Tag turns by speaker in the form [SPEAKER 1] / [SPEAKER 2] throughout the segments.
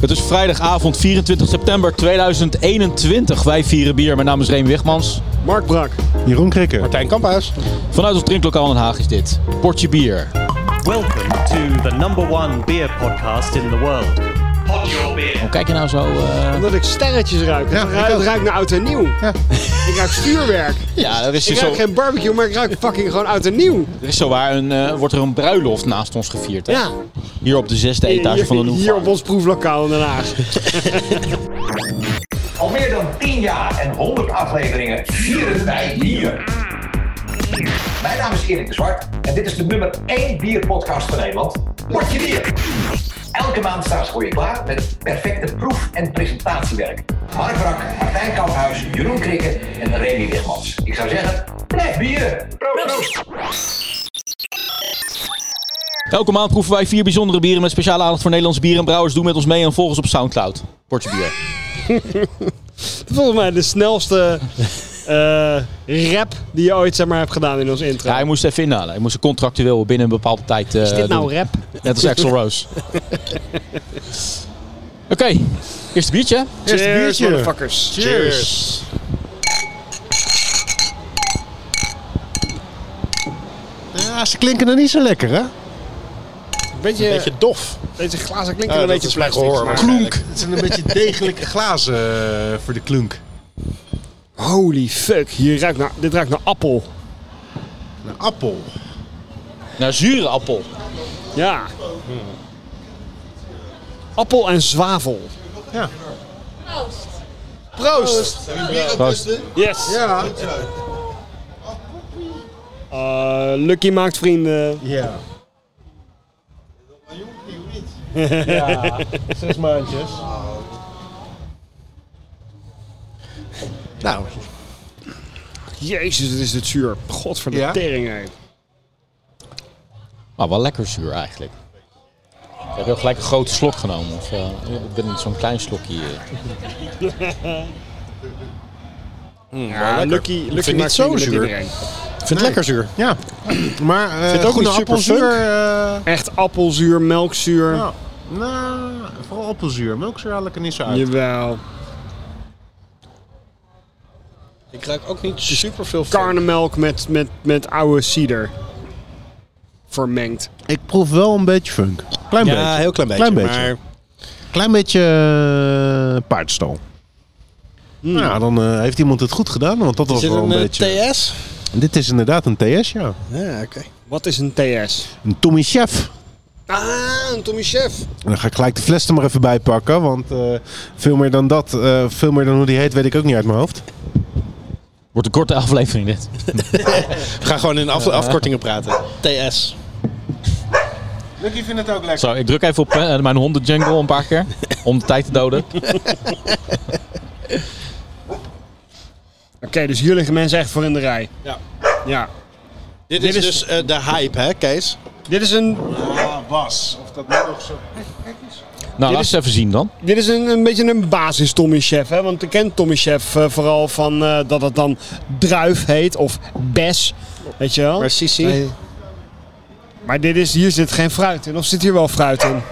[SPEAKER 1] Het is vrijdagavond 24 september 2021. Wij vieren bier. Mijn naam is Reem Wigmans.
[SPEAKER 2] Mark Brak.
[SPEAKER 3] Jeroen Krikke.
[SPEAKER 4] Martijn Kamphuis.
[SPEAKER 1] Vanuit ons drinklokaal in Den Haag is dit. Portje bier.
[SPEAKER 5] Welcome to the number one beer podcast in the world. Pod your beer.
[SPEAKER 1] Hoe kijk je nou zo? eh?
[SPEAKER 2] Omdat ik sterretjes ruik.
[SPEAKER 3] Ja,
[SPEAKER 2] Het
[SPEAKER 3] ik
[SPEAKER 2] ruikt
[SPEAKER 3] ook.
[SPEAKER 2] naar oud en nieuw. Ik ruik stuurwerk.
[SPEAKER 1] Ja, er is,
[SPEAKER 2] Ik
[SPEAKER 1] zo,
[SPEAKER 2] ruik geen barbecue, maar ik ruik fucking gewoon oud en nieuw.
[SPEAKER 1] er is zo waar een, eh, wordt er een bruiloft naast ons gevierd. Hè?
[SPEAKER 2] Ja.
[SPEAKER 1] Hier op de zesde etage
[SPEAKER 2] Hier,
[SPEAKER 1] van de
[SPEAKER 2] hier op
[SPEAKER 1] Noefarm.
[SPEAKER 2] ons proeflokaal in Den Haag.
[SPEAKER 6] Al meer dan 10 jaar en 100 afleveringen vieren wij bier. Mijn naam is Erik de Zwart en dit is de nummer 1 bierpodcast van Nederland. Word je bier! Elke maand staan ze voor je klaar met perfecte proef- en presentatiewerk. Mark Brak, Martijn Kamphuis, Jeroen Krikke en Remy Wigmans. Ik zou zeggen, blijf bieren! Proost!
[SPEAKER 1] Elke maand proeven wij vier bijzondere bieren met speciale aandacht voor Nederlandse bieren en brouwers. Doe met ons mee en volg ons op Soundcloud. Portje bier.
[SPEAKER 2] Volgens mij de snelste eh, rap die je ooit zeg maar, hebt gedaan in ons intro.
[SPEAKER 1] Ja, hij moest even inhalen. Hij moest contractueel binnen een bepaalde tijd. eh,
[SPEAKER 2] Is dit nou
[SPEAKER 1] doen.
[SPEAKER 2] rap?
[SPEAKER 1] Net als Axel Rose. Oké, eerste biertje.
[SPEAKER 3] Eerste biertje.
[SPEAKER 2] motherfuckers.
[SPEAKER 3] Cheers. Ja, ze klinken er niet zo lekker, hè?
[SPEAKER 2] Beetje,
[SPEAKER 4] Beetje dof.
[SPEAKER 2] deze glazen klinken
[SPEAKER 4] Oh,
[SPEAKER 2] een
[SPEAKER 4] dat
[SPEAKER 2] beetje
[SPEAKER 4] is mijn
[SPEAKER 2] plastic.
[SPEAKER 4] gehoor,
[SPEAKER 2] maar-
[SPEAKER 4] maar-
[SPEAKER 3] Klunk. Het zijn een beetje degelijke glazen eh, voor de klunk.
[SPEAKER 2] Holy fuck, hier ruikt naar, dit ruikt naar appel.
[SPEAKER 3] Een appel.
[SPEAKER 1] Naar zure appel.
[SPEAKER 2] Ja. Appel en zwavel.
[SPEAKER 3] Ja.
[SPEAKER 2] Proost. Proost. Yes.
[SPEAKER 3] Ja.
[SPEAKER 2] Eh, Lucky maakt vrienden.
[SPEAKER 3] Ja. Ja, zes maandjes. Nou,
[SPEAKER 2] Jezus, wat is dit zuur. God van de
[SPEAKER 3] Ja?
[SPEAKER 2] tering. hè.
[SPEAKER 1] Maar wel lekker zuur eigenlijk. Ik heb wel gelijk een grote slok genomen. Of, eh, ik ben niet zo'n klein slokje. eh.
[SPEAKER 2] Ja, Lucky, Lucky
[SPEAKER 4] niet
[SPEAKER 2] maakt
[SPEAKER 4] zo
[SPEAKER 2] vrienden met
[SPEAKER 4] zuur.
[SPEAKER 2] iedereen.
[SPEAKER 4] Ik vind het lekker zuur.
[SPEAKER 3] ja. Maar eh
[SPEAKER 4] het ook
[SPEAKER 3] goede
[SPEAKER 4] niet super
[SPEAKER 3] appelzuur...
[SPEAKER 4] funk.
[SPEAKER 3] eh,
[SPEAKER 2] Echt appelzuur, melkzuur.
[SPEAKER 3] nou, nou, vooral appelzuur. Melkzuur haal ik er niet zo uit.
[SPEAKER 2] Jawel.
[SPEAKER 4] Ik ruik ook niet super veel
[SPEAKER 2] Karnemelk met, met, met oude cider. Vermengd.
[SPEAKER 3] Ik proef wel een beetje funk. Klein beetje.
[SPEAKER 4] Ja, heel klein beetje.
[SPEAKER 3] Klein beetje.
[SPEAKER 4] Maar
[SPEAKER 3] Klein beetje eh, paardenstal. Nou, ja, dan eh, heeft iemand het goed gedaan, want dat was
[SPEAKER 4] is dit
[SPEAKER 3] wel een,
[SPEAKER 4] een eh,
[SPEAKER 3] beetje...
[SPEAKER 4] TS?
[SPEAKER 3] Dit is inderdaad een TS, ja.
[SPEAKER 4] Ja, oké.
[SPEAKER 2] Wat is een TS?
[SPEAKER 3] Een Tommy Chef.
[SPEAKER 2] Ah, een Tommy Chef.
[SPEAKER 3] En Dan ga ik gelijk de fles er maar even bij pakken, want eh, veel meer dan dat, eh, veel meer dan hoe die heet, weet ik ook niet uit mijn hoofd.
[SPEAKER 1] Wordt een korte aflevering dit.
[SPEAKER 4] We gaan gewoon in af- afkortingen praten. TS.
[SPEAKER 3] Lucky vindt het ook lekker.
[SPEAKER 1] Zo, ik druk even op eh, mijn honden jungle een paar keer. Om de tijd te doden.
[SPEAKER 2] Oké, dus hier liggen mensen echt voor in de rij.
[SPEAKER 4] Ja.
[SPEAKER 2] Ja.
[SPEAKER 4] Dit,
[SPEAKER 2] Dit
[SPEAKER 4] is,
[SPEAKER 2] is-
[SPEAKER 4] dus eh, de hype, hè, Kees?
[SPEAKER 2] Dit is een,
[SPEAKER 3] was, of dat nou nog zo...
[SPEAKER 1] Nou, laat eens even zien dan.
[SPEAKER 2] dit is een, een beetje een basis Tommy Chef. Hè? Want ik ken Tommy Chef eh, vooral van eh, dat het dan druif heet of bes. Weet je wel?
[SPEAKER 4] Maar Sisi? Nee.
[SPEAKER 2] Maar dit is, hier zit geen fruit in. Of zit hier wel fruit in?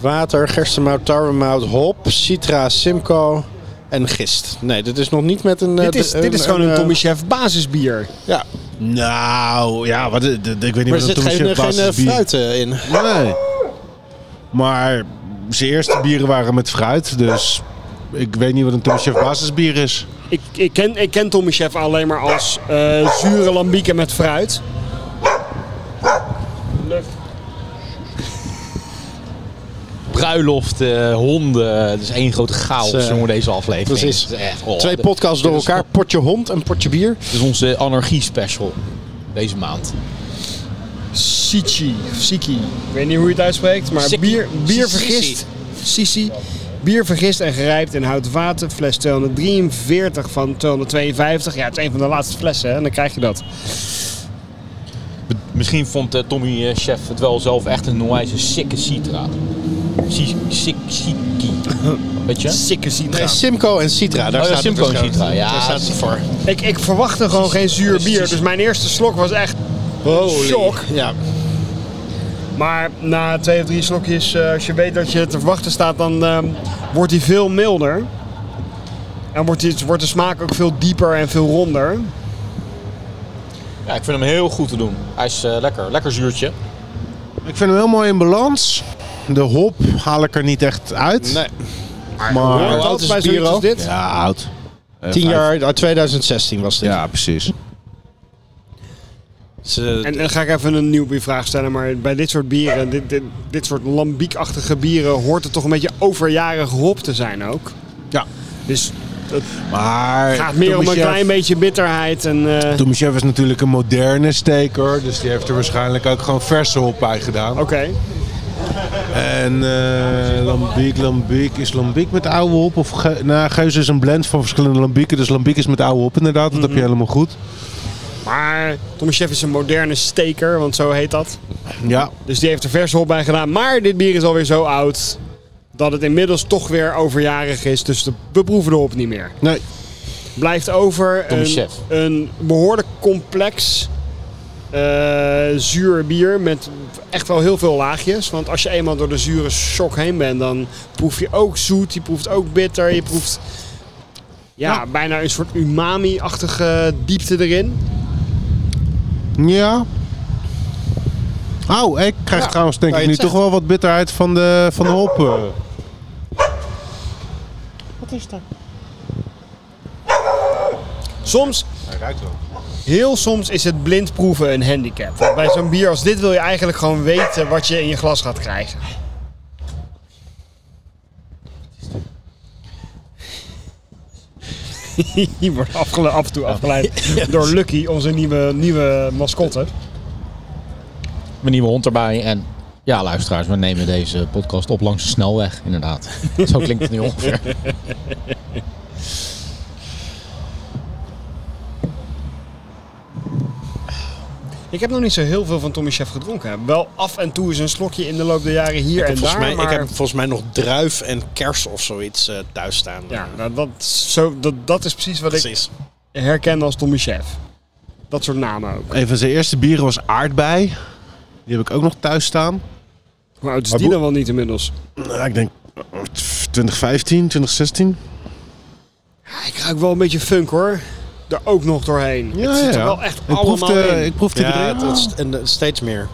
[SPEAKER 4] Water, gerstemout, tarwemout, hop, citra, simco en gist. Nee, dit is nog niet met een... eh,
[SPEAKER 2] dit is,
[SPEAKER 4] de-
[SPEAKER 2] dit is gewoon een
[SPEAKER 4] eh,
[SPEAKER 2] Tommy Chef basisbier.
[SPEAKER 4] Ja,
[SPEAKER 3] Nou, ja, wat, de- de- de- ik weet niet
[SPEAKER 4] maar er
[SPEAKER 3] wat
[SPEAKER 4] zit
[SPEAKER 3] een Tommy Chef
[SPEAKER 4] geen, geen eh,
[SPEAKER 3] basisbier-
[SPEAKER 4] fruit eh, in.
[SPEAKER 3] Nee. Maar zijn eerste bieren waren met fruit, dus ik weet niet wat een Tommy Chef basisbier is.
[SPEAKER 2] Ik, ik, ken, ik ken Tommy Chef alleen maar als eh, zure lambieken met fruit.
[SPEAKER 1] Bruiloft, eh, honden. Het is één grote chaos,
[SPEAKER 4] Dus, eh,
[SPEAKER 1] jongen, deze aflevering.
[SPEAKER 4] precies.
[SPEAKER 1] Het is echt, oh,
[SPEAKER 4] Twee
[SPEAKER 1] de-
[SPEAKER 4] podcasts door
[SPEAKER 1] dit
[SPEAKER 2] Dus
[SPEAKER 1] is-
[SPEAKER 4] elkaar, potje hond en potje bier.
[SPEAKER 1] Dit is onze anarchie special. Deze maand.
[SPEAKER 2] Sichi, of Siki. Ik weet niet hoe je het uitspreekt, maar
[SPEAKER 1] Siki.
[SPEAKER 2] bier, bier
[SPEAKER 1] Sisi.
[SPEAKER 2] vergist. Sisi. Bier vergist en gerijpt in houtwater, fles 243 van 252. Ja, het is een van de laatste flessen hè, en dan krijg je dat.
[SPEAKER 1] Misschien vond eh, Tommy eh, Chef het wel zelf echt een onwijze sikke citra. Si- Sik, siki. Weet je?
[SPEAKER 2] Sikke Citra.
[SPEAKER 4] Nee, simco en citra, daar
[SPEAKER 1] Oh ja,
[SPEAKER 4] staat het
[SPEAKER 1] Simco en
[SPEAKER 4] verschil.
[SPEAKER 1] Citra, ja.
[SPEAKER 4] Daar staat het voor.
[SPEAKER 2] Ik, ik verwachtte gewoon geen zuur bier, dus mijn eerste slok was echt
[SPEAKER 4] Holy.
[SPEAKER 2] shock.
[SPEAKER 4] Ja.
[SPEAKER 2] Maar na twee of drie slokjes, eh, als je weet dat je te verwachten staat, dan ehm, wordt die veel milder. En wordt, die, wordt de smaak ook veel dieper en veel ronder.
[SPEAKER 1] Ja, ik vind hem heel goed te doen. Hij is eh, lekker. Lekker zuurtje.
[SPEAKER 3] Ik vind hem heel mooi in balans. De hop haal ik er niet echt uit.
[SPEAKER 4] Nee.
[SPEAKER 3] Maar
[SPEAKER 2] Hoe oud
[SPEAKER 4] oud
[SPEAKER 2] is
[SPEAKER 4] is
[SPEAKER 2] bij
[SPEAKER 4] het
[SPEAKER 2] zoiets
[SPEAKER 4] bier
[SPEAKER 2] als
[SPEAKER 4] al?
[SPEAKER 2] dit?
[SPEAKER 3] Ja, oud. Eh,
[SPEAKER 4] 10
[SPEAKER 3] vijf-
[SPEAKER 4] jaar, ah, 2016 was dit.
[SPEAKER 3] Ja, precies.
[SPEAKER 4] Ze-
[SPEAKER 2] En dan ga ik even een nieuwbiervraag stellen, maar bij dit soort bieren, dit, dit, dit soort lambiekachtige bieren, hoort het toch een beetje overjarig hop te zijn ook.
[SPEAKER 3] Ja.
[SPEAKER 2] Dus het
[SPEAKER 3] Maar
[SPEAKER 2] gaat meer om een
[SPEAKER 3] Tomichev-
[SPEAKER 2] klein beetje bitterheid en... eh,
[SPEAKER 3] Tomichev is natuurlijk een moderne steker. Dus die heeft er waarschijnlijk ook gewoon verse hop bij gedaan.
[SPEAKER 2] Oké.
[SPEAKER 3] En eh lambiek, lambiek. Is lambiek met oude hop? Of ge nou, geuze is een blend van verschillende lambieken. Dus lambiek is met oude hop inderdaad. Dat
[SPEAKER 2] Mhm.
[SPEAKER 3] heb je helemaal goed.
[SPEAKER 2] Maar Tommy Chef is een moderne steker, want zo heet dat.
[SPEAKER 3] Ja.
[SPEAKER 2] Dus die heeft er verse hop bij gedaan. Maar dit bier is alweer zo oud dat het inmiddels toch weer overjarig is. Dus de, we proeven de hop niet meer.
[SPEAKER 3] Nee.
[SPEAKER 2] Blijft over
[SPEAKER 1] Tommy
[SPEAKER 2] een,
[SPEAKER 1] Chef.
[SPEAKER 2] een behoorlijk complex eh, zuur bier met echt wel heel veel laagjes. Want als je eenmaal door de zure shock heen bent, dan proef je ook zoet, je proeft ook bitter, je proeft ja, bijna een soort umami-achtige diepte erin.
[SPEAKER 3] Ja. Au, ik krijg trouwens denk
[SPEAKER 4] kan
[SPEAKER 3] ik
[SPEAKER 4] je
[SPEAKER 3] nu
[SPEAKER 4] het
[SPEAKER 3] toch wel wat bitterheid van de, van de hop. eh.
[SPEAKER 2] Soms
[SPEAKER 3] Hij ruikt wel.
[SPEAKER 2] Heel soms is het blind proeven een handicap. Want bij zo'n bier als dit wil je eigenlijk gewoon weten wat je in je glas gaat krijgen. Je wordt afgele- af en toe afgeleid door Lucky, onze nieuwe, nieuwe mascotte.
[SPEAKER 1] Mijn nieuwe hond erbij. En ja, luisteraars, we nemen deze podcast op langs de snelweg. Inderdaad. Zo klinkt het nu ongeveer.
[SPEAKER 2] Ik heb nog niet zo heel veel van Tommy Chef gedronken. Wel af en toe is een slokje in de loop der jaren hier en
[SPEAKER 4] volgens
[SPEAKER 2] daar.
[SPEAKER 4] mij,
[SPEAKER 2] maar...
[SPEAKER 4] Ik heb volgens mij nog druif en kers of zoiets eh, thuis staan.
[SPEAKER 2] Ja, nou, dat, zo, dat, dat is precies wat ik
[SPEAKER 4] precies.
[SPEAKER 2] herken als Tommy Chef. Dat soort namen ook.
[SPEAKER 3] Een van zijn eerste bieren was aardbei. Die heb ik ook nog thuis staan.
[SPEAKER 2] Hoe oud is
[SPEAKER 3] Maar
[SPEAKER 2] die
[SPEAKER 3] boe-
[SPEAKER 2] dan wel niet inmiddels?
[SPEAKER 3] Nou, ik denk eh, 2015, 2016.
[SPEAKER 2] Ik ruik wel een beetje funk hoor. Er ook nog doorheen. het zit er wel echt
[SPEAKER 3] ik
[SPEAKER 2] allemaal
[SPEAKER 3] proefde,
[SPEAKER 2] in.
[SPEAKER 3] Ik proefde
[SPEAKER 4] Ja,
[SPEAKER 3] erin.
[SPEAKER 4] het, het st- en eh, steeds meer.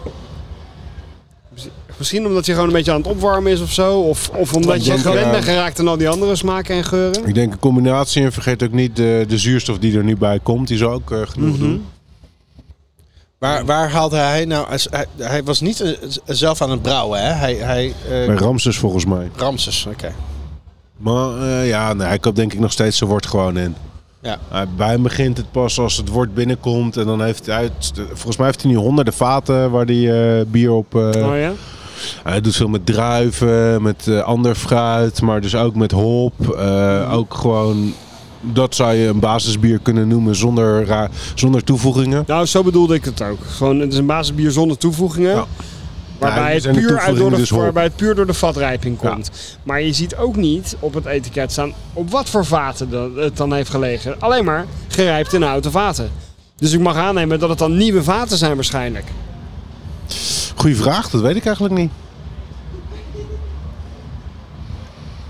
[SPEAKER 2] Misschien omdat hij gewoon een beetje aan het opwarmen is of zo. Of, of omdat je
[SPEAKER 3] denk,
[SPEAKER 2] gewend
[SPEAKER 3] eh,
[SPEAKER 2] bent geraakt aan al die andere smaken en geuren.
[SPEAKER 3] Ik denk een combinatie en vergeet ook niet de, de zuurstof die er nu bij komt. Die zal ook eh, genoeg
[SPEAKER 2] Mhm.
[SPEAKER 3] doen.
[SPEAKER 4] Waar, waar haalde hij nou... als- Hij, hij was niet eh, z- zelf aan het brouwen, hè? Hij... hij eh,
[SPEAKER 3] Bij Ramses volgens mij.
[SPEAKER 4] Ramses, oké.
[SPEAKER 3] Maar eh, ja, nee, hij koopt denk ik nog steeds zijn wort gewoon in.
[SPEAKER 4] Ja.
[SPEAKER 3] Hij- bij hem begint het pas als het wort binnenkomt. En dan heeft hij... het- Volgens mij heeft hij nu honderden vaten waar hij eh, bier op... eh,
[SPEAKER 2] oh ja?
[SPEAKER 3] Hij doet veel met druiven, met eh, ander fruit, maar dus ook met hop.
[SPEAKER 2] Mhm.
[SPEAKER 3] Eh, ook gewoon, dat zou je een basisbier kunnen noemen zonder, ra- zonder toevoegingen.
[SPEAKER 2] Nou, zo bedoelde ik het ook. Gewoon, het is een basisbier zonder toevoegingen.
[SPEAKER 3] Ja.
[SPEAKER 2] Waarbij,
[SPEAKER 3] Ja, er
[SPEAKER 2] het
[SPEAKER 3] zijn de
[SPEAKER 2] puur uit door de,
[SPEAKER 3] toevoegingen dus hop.
[SPEAKER 2] waarbij het puur door de vatrijping komt. Maar je ziet ook niet op het etiket staan op wat voor vaten dat het dan heeft gelegen. Alleen maar gerijpt in houten vaten. Dus ik mag aannemen dat het dan nieuwe vaten zijn waarschijnlijk.
[SPEAKER 3] Goeie vraag, dat weet ik eigenlijk niet.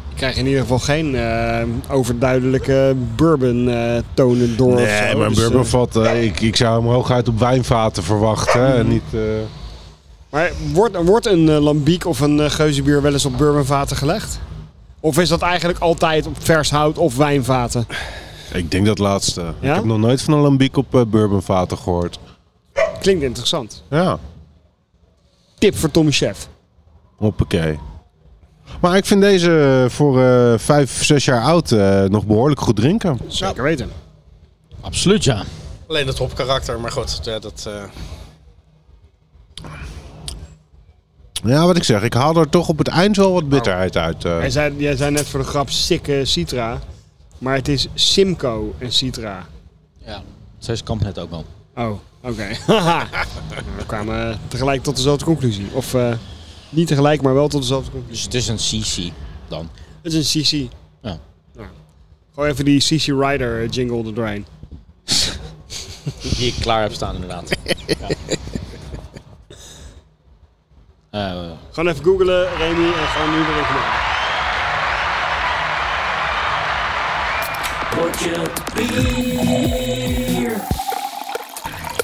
[SPEAKER 2] Ik krijg in ieder geval geen eh, overduidelijke bourbon eh, tonen door. of
[SPEAKER 3] Nee,
[SPEAKER 2] zo.
[SPEAKER 3] maar een
[SPEAKER 2] Dus, eh,
[SPEAKER 3] bourbonvat, eh, ik, ik zou hem hooguit op wijnvaten verwachten. hè, en niet, eh,
[SPEAKER 2] maar wordt, wordt een eh, lambiek of een eh, geuzebier wel eens op bourbonvaten gelegd? Of is dat eigenlijk altijd op vers hout of wijnvaten?
[SPEAKER 3] ik denk dat laatste.
[SPEAKER 2] Ja?
[SPEAKER 3] Ik heb nog nooit van een lambiek op eh, bourbonvaten gehoord.
[SPEAKER 2] Klinkt interessant.
[SPEAKER 3] Ja,
[SPEAKER 2] Tip voor Tommy Chef.
[SPEAKER 3] hoppakee. Maar ik vind deze voor eh, vijf, zes jaar oud eh, nog behoorlijk goed drinken.
[SPEAKER 2] Zeker weten.
[SPEAKER 1] Absoluut, ja.
[SPEAKER 4] Alleen het hopkarakter, maar goed. Ja, dat, eh,
[SPEAKER 3] Ja, wat ik zeg, ik haal er toch op het eind wel wat bitterheid uit. eh.
[SPEAKER 2] Jij zei, jij zei net voor de grap sikke Citra. Maar het is Simcoe en Citra.
[SPEAKER 1] ja. Zij kamp net ook al.
[SPEAKER 2] Oh, oké. Haha. We kwamen eh, tegelijk tot dezelfde conclusie. Of eh, niet tegelijk, maar wel tot dezelfde conclusie.
[SPEAKER 1] Dus het is een CC dan.
[SPEAKER 2] Het is een CC.
[SPEAKER 1] Ja.
[SPEAKER 2] Gewoon even die CC Rider eh, jingle er doorheen.
[SPEAKER 1] Die ik klaar heb staan, inderdaad. Ja. Eh,
[SPEAKER 2] Gewoon even googlen, Remy, en gewoon nu weer even naar.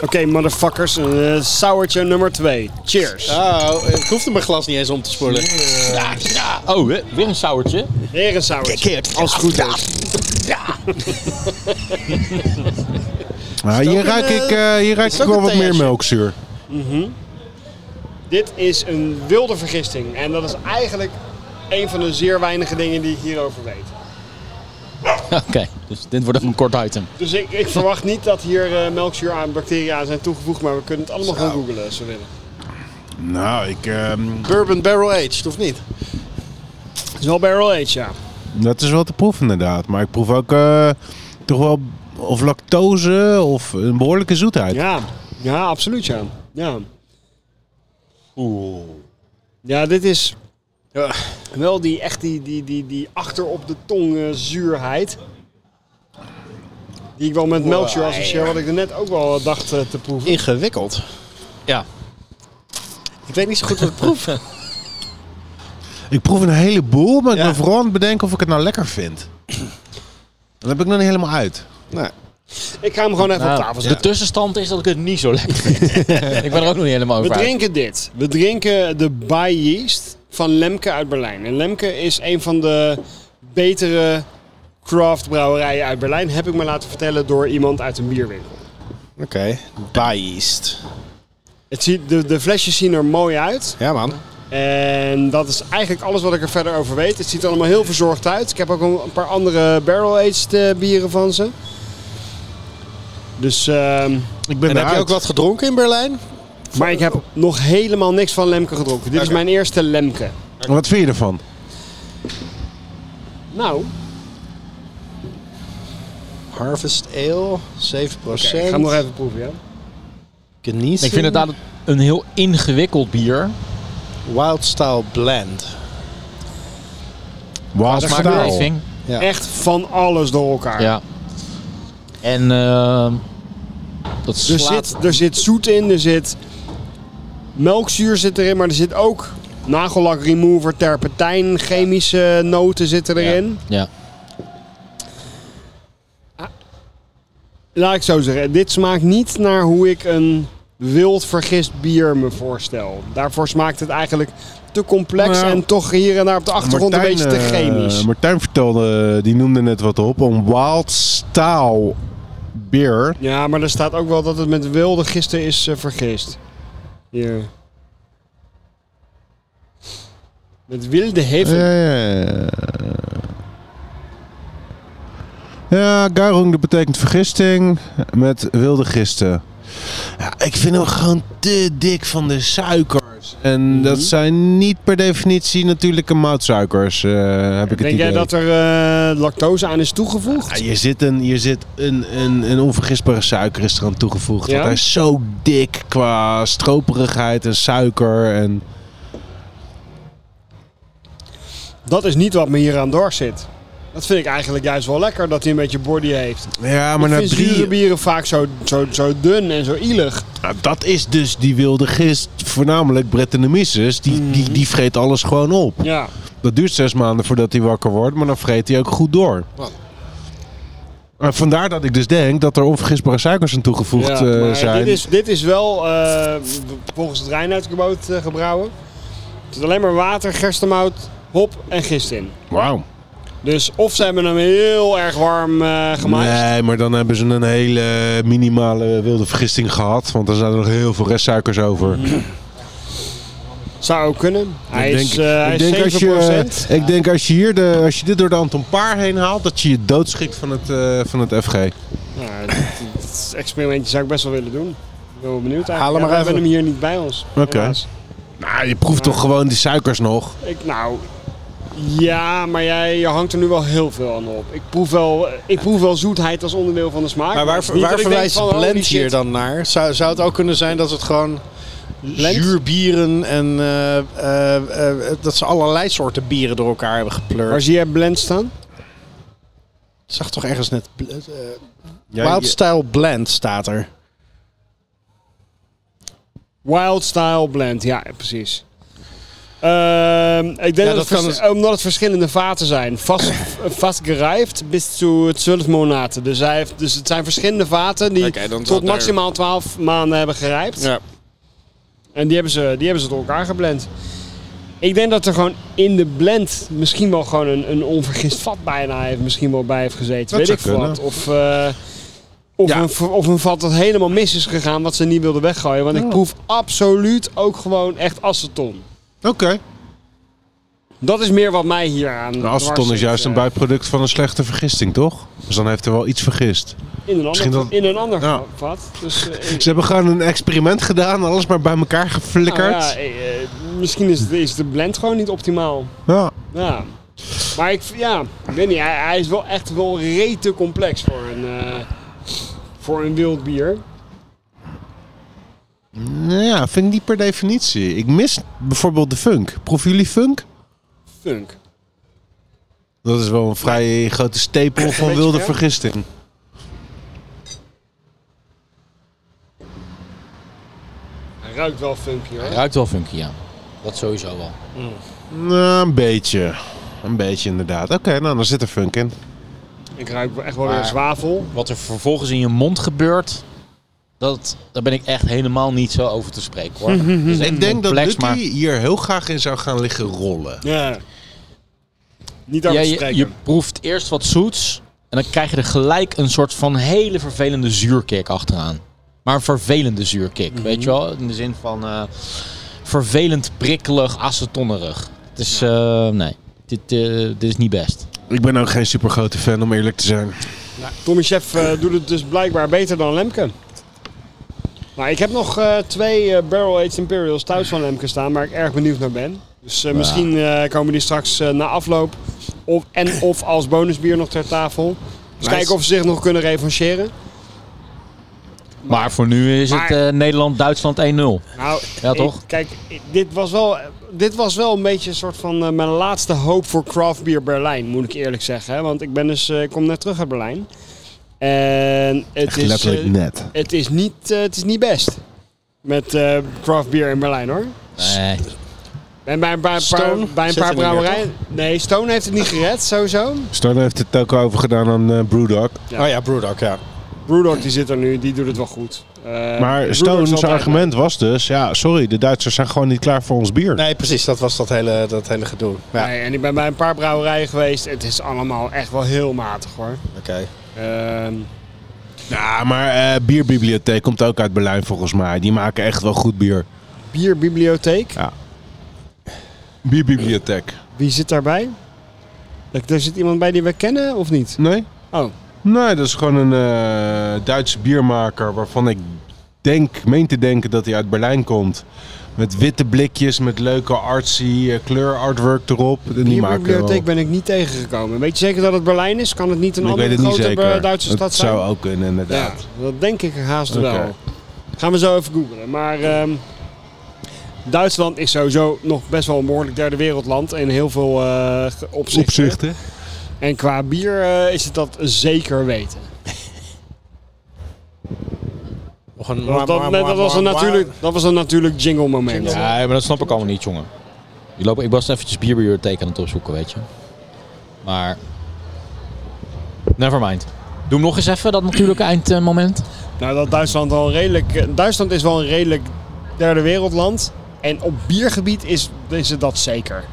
[SPEAKER 2] Oké, motherfuckers, eh sauertje nummer 2. Cheers.
[SPEAKER 4] Oh, ik hoefde mijn glas niet eens om te spoelen.
[SPEAKER 1] oh, we- weer een sauertje.
[SPEAKER 2] Weer een sauertje. Als het goed is.
[SPEAKER 3] Nou, hier
[SPEAKER 2] ook
[SPEAKER 3] ruik
[SPEAKER 2] een,
[SPEAKER 3] ik, eh, hier ruik
[SPEAKER 2] is
[SPEAKER 3] ik
[SPEAKER 2] het ook
[SPEAKER 3] wel
[SPEAKER 2] een
[SPEAKER 3] wat meer
[SPEAKER 2] theasje?
[SPEAKER 3] melkzuur.
[SPEAKER 2] Dit is een wilde vergisting. En dat is eigenlijk een van de zeer weinige dingen die ik hierover weet.
[SPEAKER 1] Oké, dus dit wordt even een kort item.
[SPEAKER 2] Dus ik, ik verwacht niet dat hier eh, melkzuur aan bacteriën aan zijn toegevoegd, maar we kunnen het allemaal gaan googlen als we willen.
[SPEAKER 3] Nou, ik, ehm,
[SPEAKER 4] Bourbon barrel aged, of niet?
[SPEAKER 2] Het is wel barrel aged, ja.
[SPEAKER 3] dat is wel te proeven inderdaad. Maar ik proef ook eh, toch wel of lactose of een behoorlijke zoetheid.
[SPEAKER 2] Ja, ja absoluut ja. ja. Oeh. Ja, dit is ja, wel die, echt die, die, die, die achter op de tong eh, zuurheid. Die ik wel met melkzuur associeer, wat ik er net ook wel eh, dacht eh, te proeven.
[SPEAKER 4] Ingewikkeld.
[SPEAKER 1] Ja.
[SPEAKER 4] Ik weet niet zo goed wat ik proef.
[SPEAKER 3] Ik proef een heleboel, maar ik
[SPEAKER 4] Ja.
[SPEAKER 3] ben vooral aan het bedenken of ik het nou lekker vind. Dat heb ik nog niet helemaal uit.
[SPEAKER 4] nou,
[SPEAKER 2] Ik ga hem gewoon even op tafel
[SPEAKER 1] Nou, de
[SPEAKER 2] zetten.
[SPEAKER 1] tussenstand is dat ik het niet zo lekker vind. ik ben er ook nog niet helemaal
[SPEAKER 2] We
[SPEAKER 1] over uit.
[SPEAKER 2] drinken dit. We drinken de Bay Yeast van Lemke uit Berlijn. En Lemke is een van de betere craftbrouwerijen uit Berlijn. Heb ik me laten vertellen door iemand uit een bierwinkel.
[SPEAKER 4] oké. Biased.
[SPEAKER 2] Het ziet, de, de flesjes zien er mooi uit.
[SPEAKER 4] Ja, man.
[SPEAKER 2] En dat is eigenlijk alles wat ik er verder over weet. Het ziet er allemaal heel verzorgd uit. Ik heb ook een, een paar andere barrel-aged eh, bieren van ze. Dus, ehm,
[SPEAKER 3] Ik ben
[SPEAKER 4] En heb je ook wat gedronken in Berlijn?
[SPEAKER 2] maar ik heb nog helemaal niks van Lemke gedronken. Dit is
[SPEAKER 4] Oké.
[SPEAKER 2] mijn eerste Lemke.
[SPEAKER 3] Wat vind je ervan?
[SPEAKER 2] Nou,
[SPEAKER 4] Harvest Ale, 7%.
[SPEAKER 2] oké, ik ga hem nog even proeven. Ja?
[SPEAKER 4] Geniezen.
[SPEAKER 1] Ik vind het inderdaad een heel ingewikkeld bier.
[SPEAKER 4] Wild Style Blend.
[SPEAKER 3] Waas
[SPEAKER 2] dat
[SPEAKER 1] Smaak-
[SPEAKER 2] gebeurt-
[SPEAKER 3] staal.
[SPEAKER 1] beleving.
[SPEAKER 4] Ja.
[SPEAKER 2] Echt van alles door elkaar.
[SPEAKER 1] Ja. En ehm, dat
[SPEAKER 2] Er,
[SPEAKER 1] slaat...
[SPEAKER 2] zit, er zit zoet in, er zit melkzuur zit erin, maar er zit ook nagellak remover, terpentijn, chemische noten zitten erin.
[SPEAKER 1] Ja.
[SPEAKER 2] Laat ik zo zeggen, dit smaakt niet naar hoe ik een wild vergist bier me voorstel. Daarvoor smaakt het eigenlijk te complex
[SPEAKER 3] Nou,
[SPEAKER 2] en toch hier en daar op de achtergrond een beetje te
[SPEAKER 3] eh,
[SPEAKER 2] chemisch.
[SPEAKER 3] Martijn vertelde, die noemde net wat op, een wild staal beer.
[SPEAKER 2] ja, maar er staat ook wel dat het met wilde gisten is eh, vergist. Hier. Met wilde heffen.
[SPEAKER 3] Ja, ja, ja. Ja, Garung, dat betekent vergisting met wilde gisten. Ja, ik vind hem gewoon te dik van de suikers. En dat zijn niet per definitie natuurlijke moutsuikers, eh, heb ik het
[SPEAKER 2] Denk
[SPEAKER 3] idee. Ah,
[SPEAKER 2] jij dat er eh, lactose aan is toegevoegd?
[SPEAKER 3] Ja, hier zit, een, hier zit een, een, een onvergisbare suiker is eraan toegevoegd.
[SPEAKER 2] Ja?
[SPEAKER 3] Want hij is zo dik qua stroperigheid en suiker. En
[SPEAKER 2] Dat is niet wat me hier aan dwars zit. Dat vind ik eigenlijk juist wel lekker, dat hij een beetje body heeft.
[SPEAKER 3] Ja, Ah, maar
[SPEAKER 2] ik
[SPEAKER 3] na
[SPEAKER 2] vind zure
[SPEAKER 3] drie...
[SPEAKER 2] bieren vaak zo, zo, zo dun en zo ielig.
[SPEAKER 3] Nou, dat is dus die wilde gist, voornamelijk Brettanomyces. Die,
[SPEAKER 2] Mhm.
[SPEAKER 3] die, die vreet alles gewoon op.
[SPEAKER 2] Ja.
[SPEAKER 3] Dat duurt zes maanden voordat hij wakker wordt, maar dan vreet hij ook goed door. En vandaar dat ik dus denk dat er onvergisbare suikers aan toegevoegd
[SPEAKER 2] Ja,
[SPEAKER 3] eh,
[SPEAKER 2] maar
[SPEAKER 3] zijn.
[SPEAKER 2] Dit is, dit is wel eh, volgens het Rijnhuidgebouwd eh gebrouwen. Het is alleen maar water, gerstemout, hop en gist in.
[SPEAKER 3] Wauw.
[SPEAKER 2] Dus of ze hebben hem heel erg warm eh gemaakt.
[SPEAKER 3] Nee, maar dan hebben ze een hele minimale wilde vergisting gehad. Want er zijn er nog heel veel restsuikers over.
[SPEAKER 2] Zou ook kunnen. Mhm. Hij is, eh, hij
[SPEAKER 3] ik,
[SPEAKER 2] is 7%.
[SPEAKER 3] denk als je, ik denk als je hier de, als je dit door de Anton Paar heen haalt, dat je je doodschikt van het, eh, van het FG.
[SPEAKER 2] Nou, dit- dit experimentje zou ik best wel willen doen. Ik ben wel benieuwd eigenlijk.
[SPEAKER 4] Haal hem
[SPEAKER 2] Ja,
[SPEAKER 4] maar
[SPEAKER 2] we hebben
[SPEAKER 4] even.
[SPEAKER 2] hem hier niet bij ons.
[SPEAKER 3] Oké.
[SPEAKER 2] helaas.
[SPEAKER 3] Nou, je proeft toch gewoon die suikers nog.
[SPEAKER 2] Ik, nou, ja, maar jij je hangt er nu wel heel veel aan op. Ik proef wel, ik proef wel zoetheid als onderdeel van de smaak.
[SPEAKER 4] Maar
[SPEAKER 2] Niet
[SPEAKER 4] waar,
[SPEAKER 2] dat ik
[SPEAKER 4] waar
[SPEAKER 2] denk
[SPEAKER 4] verwijst
[SPEAKER 2] van, oh, holy
[SPEAKER 4] blend hier
[SPEAKER 2] shit.
[SPEAKER 4] dan naar? Zou, zou het ook kunnen zijn dat het gewoon
[SPEAKER 2] Blend?
[SPEAKER 4] zuurbieren en eh, eh, eh, dat ze allerlei soorten bieren door elkaar hebben gepleurd?
[SPEAKER 2] Waar zie jij blend staan?
[SPEAKER 4] Ik zag toch ergens net bl- eh,
[SPEAKER 3] Ja,
[SPEAKER 4] Wild
[SPEAKER 3] je-
[SPEAKER 4] Style Blend staat er.
[SPEAKER 2] Wild Style Blend, ja, precies. Ehm, ik denk dat,
[SPEAKER 4] dat
[SPEAKER 2] het
[SPEAKER 4] kan
[SPEAKER 2] vers-
[SPEAKER 4] het-
[SPEAKER 2] omdat het verschillende vaten zijn. Vast, vastgerijfd bis zu 12 monaten. Dus, hij heeft, dus het zijn verschillende vaten die
[SPEAKER 4] Oké, dan zal
[SPEAKER 2] tot
[SPEAKER 4] daar-
[SPEAKER 2] maximaal 12 maanden hebben gerijpt.
[SPEAKER 4] Ja.
[SPEAKER 2] En die hebben, ze, die hebben ze door elkaar geblend. Ik denk dat er gewoon in de blend misschien wel gewoon een, een onvergist vat bijna heeft, misschien wel bij heeft gezeten.
[SPEAKER 3] Dat
[SPEAKER 2] Weet ik
[SPEAKER 3] zou
[SPEAKER 2] veel wat.
[SPEAKER 3] kunnen.
[SPEAKER 2] Of, eh, of,
[SPEAKER 4] Ja.
[SPEAKER 2] een, v- of een vat dat helemaal mis is gegaan, wat ze niet wilden weggooien. Want ik proef absoluut ook gewoon echt aceton.
[SPEAKER 3] Oké.
[SPEAKER 2] Dat is meer wat mij hier aan. eh,
[SPEAKER 3] Nou, aceton is juist een bijproduct van een slechte vergisting, toch? Dus dan heeft er wel iets vergist.
[SPEAKER 2] In een ander,
[SPEAKER 3] misschien dat-
[SPEAKER 2] in een ander
[SPEAKER 3] Ja.
[SPEAKER 2] vat. Dus, eh, ik-
[SPEAKER 3] Ze hebben gewoon een experiment gedaan, alles maar bij elkaar
[SPEAKER 2] nou
[SPEAKER 3] geflikkerd.
[SPEAKER 2] ja, eh, eh, misschien is, is de blend gewoon niet optimaal.
[SPEAKER 3] ja.
[SPEAKER 2] Ja. Maar ik, ja, ik weet niet. Hij, hij is wel echt wel rete complex voor een, eh, voor een wild bier.
[SPEAKER 3] Nou ja, vind ik niet per definitie. Ik mis bijvoorbeeld de funk. Proeven jullie funk?
[SPEAKER 2] Funk.
[SPEAKER 3] Dat is wel een vrij grote stapel van
[SPEAKER 2] beetje
[SPEAKER 3] wilde
[SPEAKER 2] ver.
[SPEAKER 3] vergisting.
[SPEAKER 2] Hij ruikt wel funky hoor.
[SPEAKER 1] Ruikt wel funky, ja. Dat sowieso wel.
[SPEAKER 3] Nou, een beetje. Een beetje inderdaad. Oké, nou dan zit er funk in.
[SPEAKER 2] Ik ruik wel echt wel weer
[SPEAKER 1] Maar-
[SPEAKER 2] zwavel.
[SPEAKER 1] Wat er vervolgens in je mond gebeurt, dat, daar ben ik echt helemaal niet zo over te spreken hoor. Dus
[SPEAKER 3] Ik denk dat
[SPEAKER 1] complex,
[SPEAKER 3] Lucky
[SPEAKER 1] maar
[SPEAKER 3] hier heel graag in zou gaan liggen rollen.
[SPEAKER 2] Ja. Niet
[SPEAKER 1] ja,
[SPEAKER 2] over te
[SPEAKER 1] je,
[SPEAKER 2] spreken.
[SPEAKER 1] je proeft eerst wat zoets en dan krijg je er gelijk een soort van hele vervelende zuurkick achteraan. Maar een vervelende zuurkick,
[SPEAKER 3] Mhm.
[SPEAKER 1] weet je wel? In de zin van eh, vervelend prikkelig, acetonnerig. Het is, eh, nee, dit, eh, dit is niet best.
[SPEAKER 3] Ik ben ook geen super grote fan om eerlijk te zijn.
[SPEAKER 2] Nou, Tommy Chef eh, doet het dus blijkbaar beter dan Lemke. Maar ik heb nog eh, twee eh, Barrel Aged Imperial Stouts van Lemke staan, waar ik erg benieuwd naar ben. Dus eh, misschien eh, komen die straks eh, na afloop of, en of als bonusbier nog ter tafel. Dus
[SPEAKER 4] Nice.
[SPEAKER 2] kijken of ze zich nog kunnen revancheren.
[SPEAKER 1] Maar voor nu is het
[SPEAKER 2] Maar-
[SPEAKER 1] eh, Nederland-Duitsland 1-0.
[SPEAKER 2] Nou,
[SPEAKER 1] Ja,
[SPEAKER 2] ik-
[SPEAKER 1] toch?
[SPEAKER 2] kijk, ik- dit was, wel, dit was wel een beetje een soort van eh, mijn laatste hoop voor craft beer Berlijn, moet ik eerlijk zeggen. Hè? Want ik, ben dus, eh, ik kom net terug uit Berlijn. En het
[SPEAKER 3] Echt
[SPEAKER 2] is,
[SPEAKER 3] letterlijk
[SPEAKER 2] eh,
[SPEAKER 3] net.
[SPEAKER 2] Het is niet, eh, het is niet best. Met eh craft beer in Berlijn hoor.
[SPEAKER 1] Nee.
[SPEAKER 2] En bij, een paar-
[SPEAKER 4] Stone
[SPEAKER 2] paar, bij een
[SPEAKER 4] zit
[SPEAKER 2] paar
[SPEAKER 4] er niet meer,
[SPEAKER 2] brouwerijen. Nee, Stone heeft het niet gered, sowieso.
[SPEAKER 3] Stone heeft het ook over gedaan aan eh, Brewdog.
[SPEAKER 2] Ja.
[SPEAKER 4] Oh ja, Brewdog, ja.
[SPEAKER 2] Brewdog die zit er nu, die doet het wel goed. Eh, Brewdog
[SPEAKER 3] Maar
[SPEAKER 2] is
[SPEAKER 3] Stone's
[SPEAKER 2] altijd-
[SPEAKER 3] argument was dus, ja, sorry, de Duitsers zijn gewoon niet klaar voor ons bier.
[SPEAKER 4] Nee, precies. Dat was dat hele, dat hele gedoe. Ja,
[SPEAKER 2] Nee, en ik ben bij een paar brouwerijen geweest. Het is allemaal echt wel heel matig hoor.
[SPEAKER 4] oké.
[SPEAKER 2] Ehm,
[SPEAKER 3] Ja, maar eh, Bierbibliotheek komt ook uit Berlijn volgens mij. Die maken echt wel goed bier.
[SPEAKER 2] bierbibliotheek.
[SPEAKER 3] Bierbibliotheek.
[SPEAKER 2] Wie zit daarbij? Er- Er zit iemand bij die we kennen of niet?
[SPEAKER 3] Nee?
[SPEAKER 2] Oh.
[SPEAKER 3] Nee, dat is gewoon een eh, Duitse biermaker waarvan ik denk, meen te denken dat hij uit Berlijn komt. Met witte blikjes, met leuke artsy eh, kleur artwork erop. En die maken
[SPEAKER 2] Bierbibliotheek
[SPEAKER 3] wel-
[SPEAKER 2] ben ik niet tegengekomen. Weet je zeker dat het Berlijn is? Kan het niet een
[SPEAKER 3] Ik weet
[SPEAKER 2] andere
[SPEAKER 3] het niet
[SPEAKER 2] grote eh,
[SPEAKER 3] zeker.
[SPEAKER 2] Duitse stad
[SPEAKER 3] het
[SPEAKER 2] zijn?
[SPEAKER 3] zou ook kunnen,
[SPEAKER 2] Ja,
[SPEAKER 3] inderdaad.
[SPEAKER 2] dat denk ik haast
[SPEAKER 3] Oké.
[SPEAKER 2] wel. Gaan we zo even googlen. Maar ehm, Duitsland is sowieso nog best wel een behoorlijk derde wereldland in heel veel eh, ge- opzichten.
[SPEAKER 3] Opzichten.
[SPEAKER 2] En qua bier eh, is het dat zeker weten. Want dat, dat, was een natuurlijk, dat was een natuurlijk jingle moment.
[SPEAKER 1] Ja, maar dat snap ik allemaal niet, jongen. Die lopen, ik was eventjes bierbibliotheek aan het opzoeken, weet je. Maar... Nevermind. Doe hem nog eens even, dat natuurlijke eindmoment.
[SPEAKER 2] Nou, dat Duitsland wel redelijk. eh, Duitsland is wel een redelijk derde wereldland. En op biergebied is, is het dat zeker.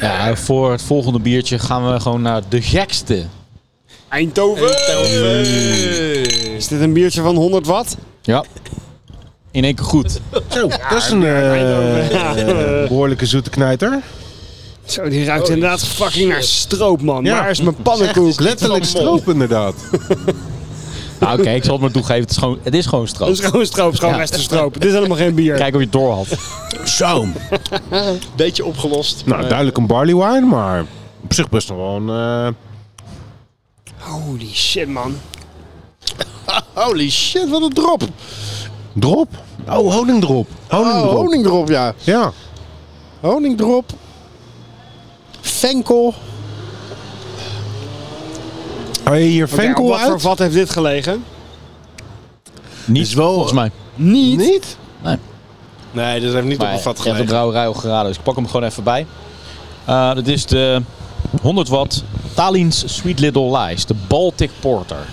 [SPEAKER 1] Ja, voor het volgende biertje gaan we gewoon naar de gekste.
[SPEAKER 2] Eindhoven! Is dit een biertje van 100 watt?
[SPEAKER 1] Ja. In één keer goed.
[SPEAKER 3] Zo, dat is een eh, eh, behoorlijke zoete knijter.
[SPEAKER 2] Zo, die ruikt inderdaad fucking naar stroop, man.
[SPEAKER 3] Ja.
[SPEAKER 2] Waar is mijn pannenkoek?
[SPEAKER 3] Letterlijk stroop, inderdaad.
[SPEAKER 1] Nou, Oké, ik zal het maar toegeven. Het is gewoon, het is gewoon
[SPEAKER 2] Dat
[SPEAKER 1] stroop.
[SPEAKER 2] is gewoon stroop, het is gewoon
[SPEAKER 1] Ja.
[SPEAKER 2] restenstroop. Dit is helemaal geen bier.
[SPEAKER 1] Kijk of je het door had.
[SPEAKER 3] Zo.
[SPEAKER 4] Beetje opgelost.
[SPEAKER 3] Nou, duidelijk een barley wine, maar op zich best nog wel een... eh,
[SPEAKER 2] Holy shit, man. Nou.
[SPEAKER 4] Holy shit, wat een drop.
[SPEAKER 3] Drop? Oh, honingdrop.
[SPEAKER 4] Oh,
[SPEAKER 3] Honingdrop.
[SPEAKER 4] honingdrop, ja.
[SPEAKER 3] Ja.
[SPEAKER 4] honingdrop, fenkel.
[SPEAKER 3] Haal je hier venkel
[SPEAKER 2] wat voor
[SPEAKER 3] uit?
[SPEAKER 2] vat heeft dit gelegen?
[SPEAKER 1] Niet
[SPEAKER 3] Is wel-
[SPEAKER 1] volgens mij.
[SPEAKER 3] Niet? Niet?
[SPEAKER 4] Nee, dat heeft niet op
[SPEAKER 1] Maar
[SPEAKER 4] een vat
[SPEAKER 1] je hebt de
[SPEAKER 4] gelegen.
[SPEAKER 1] brouwerij al geraden, dus ik pak hem gewoon even bij. Eh dat is de 100 watt Talins Sweet Little Lies, de Baltic Porter.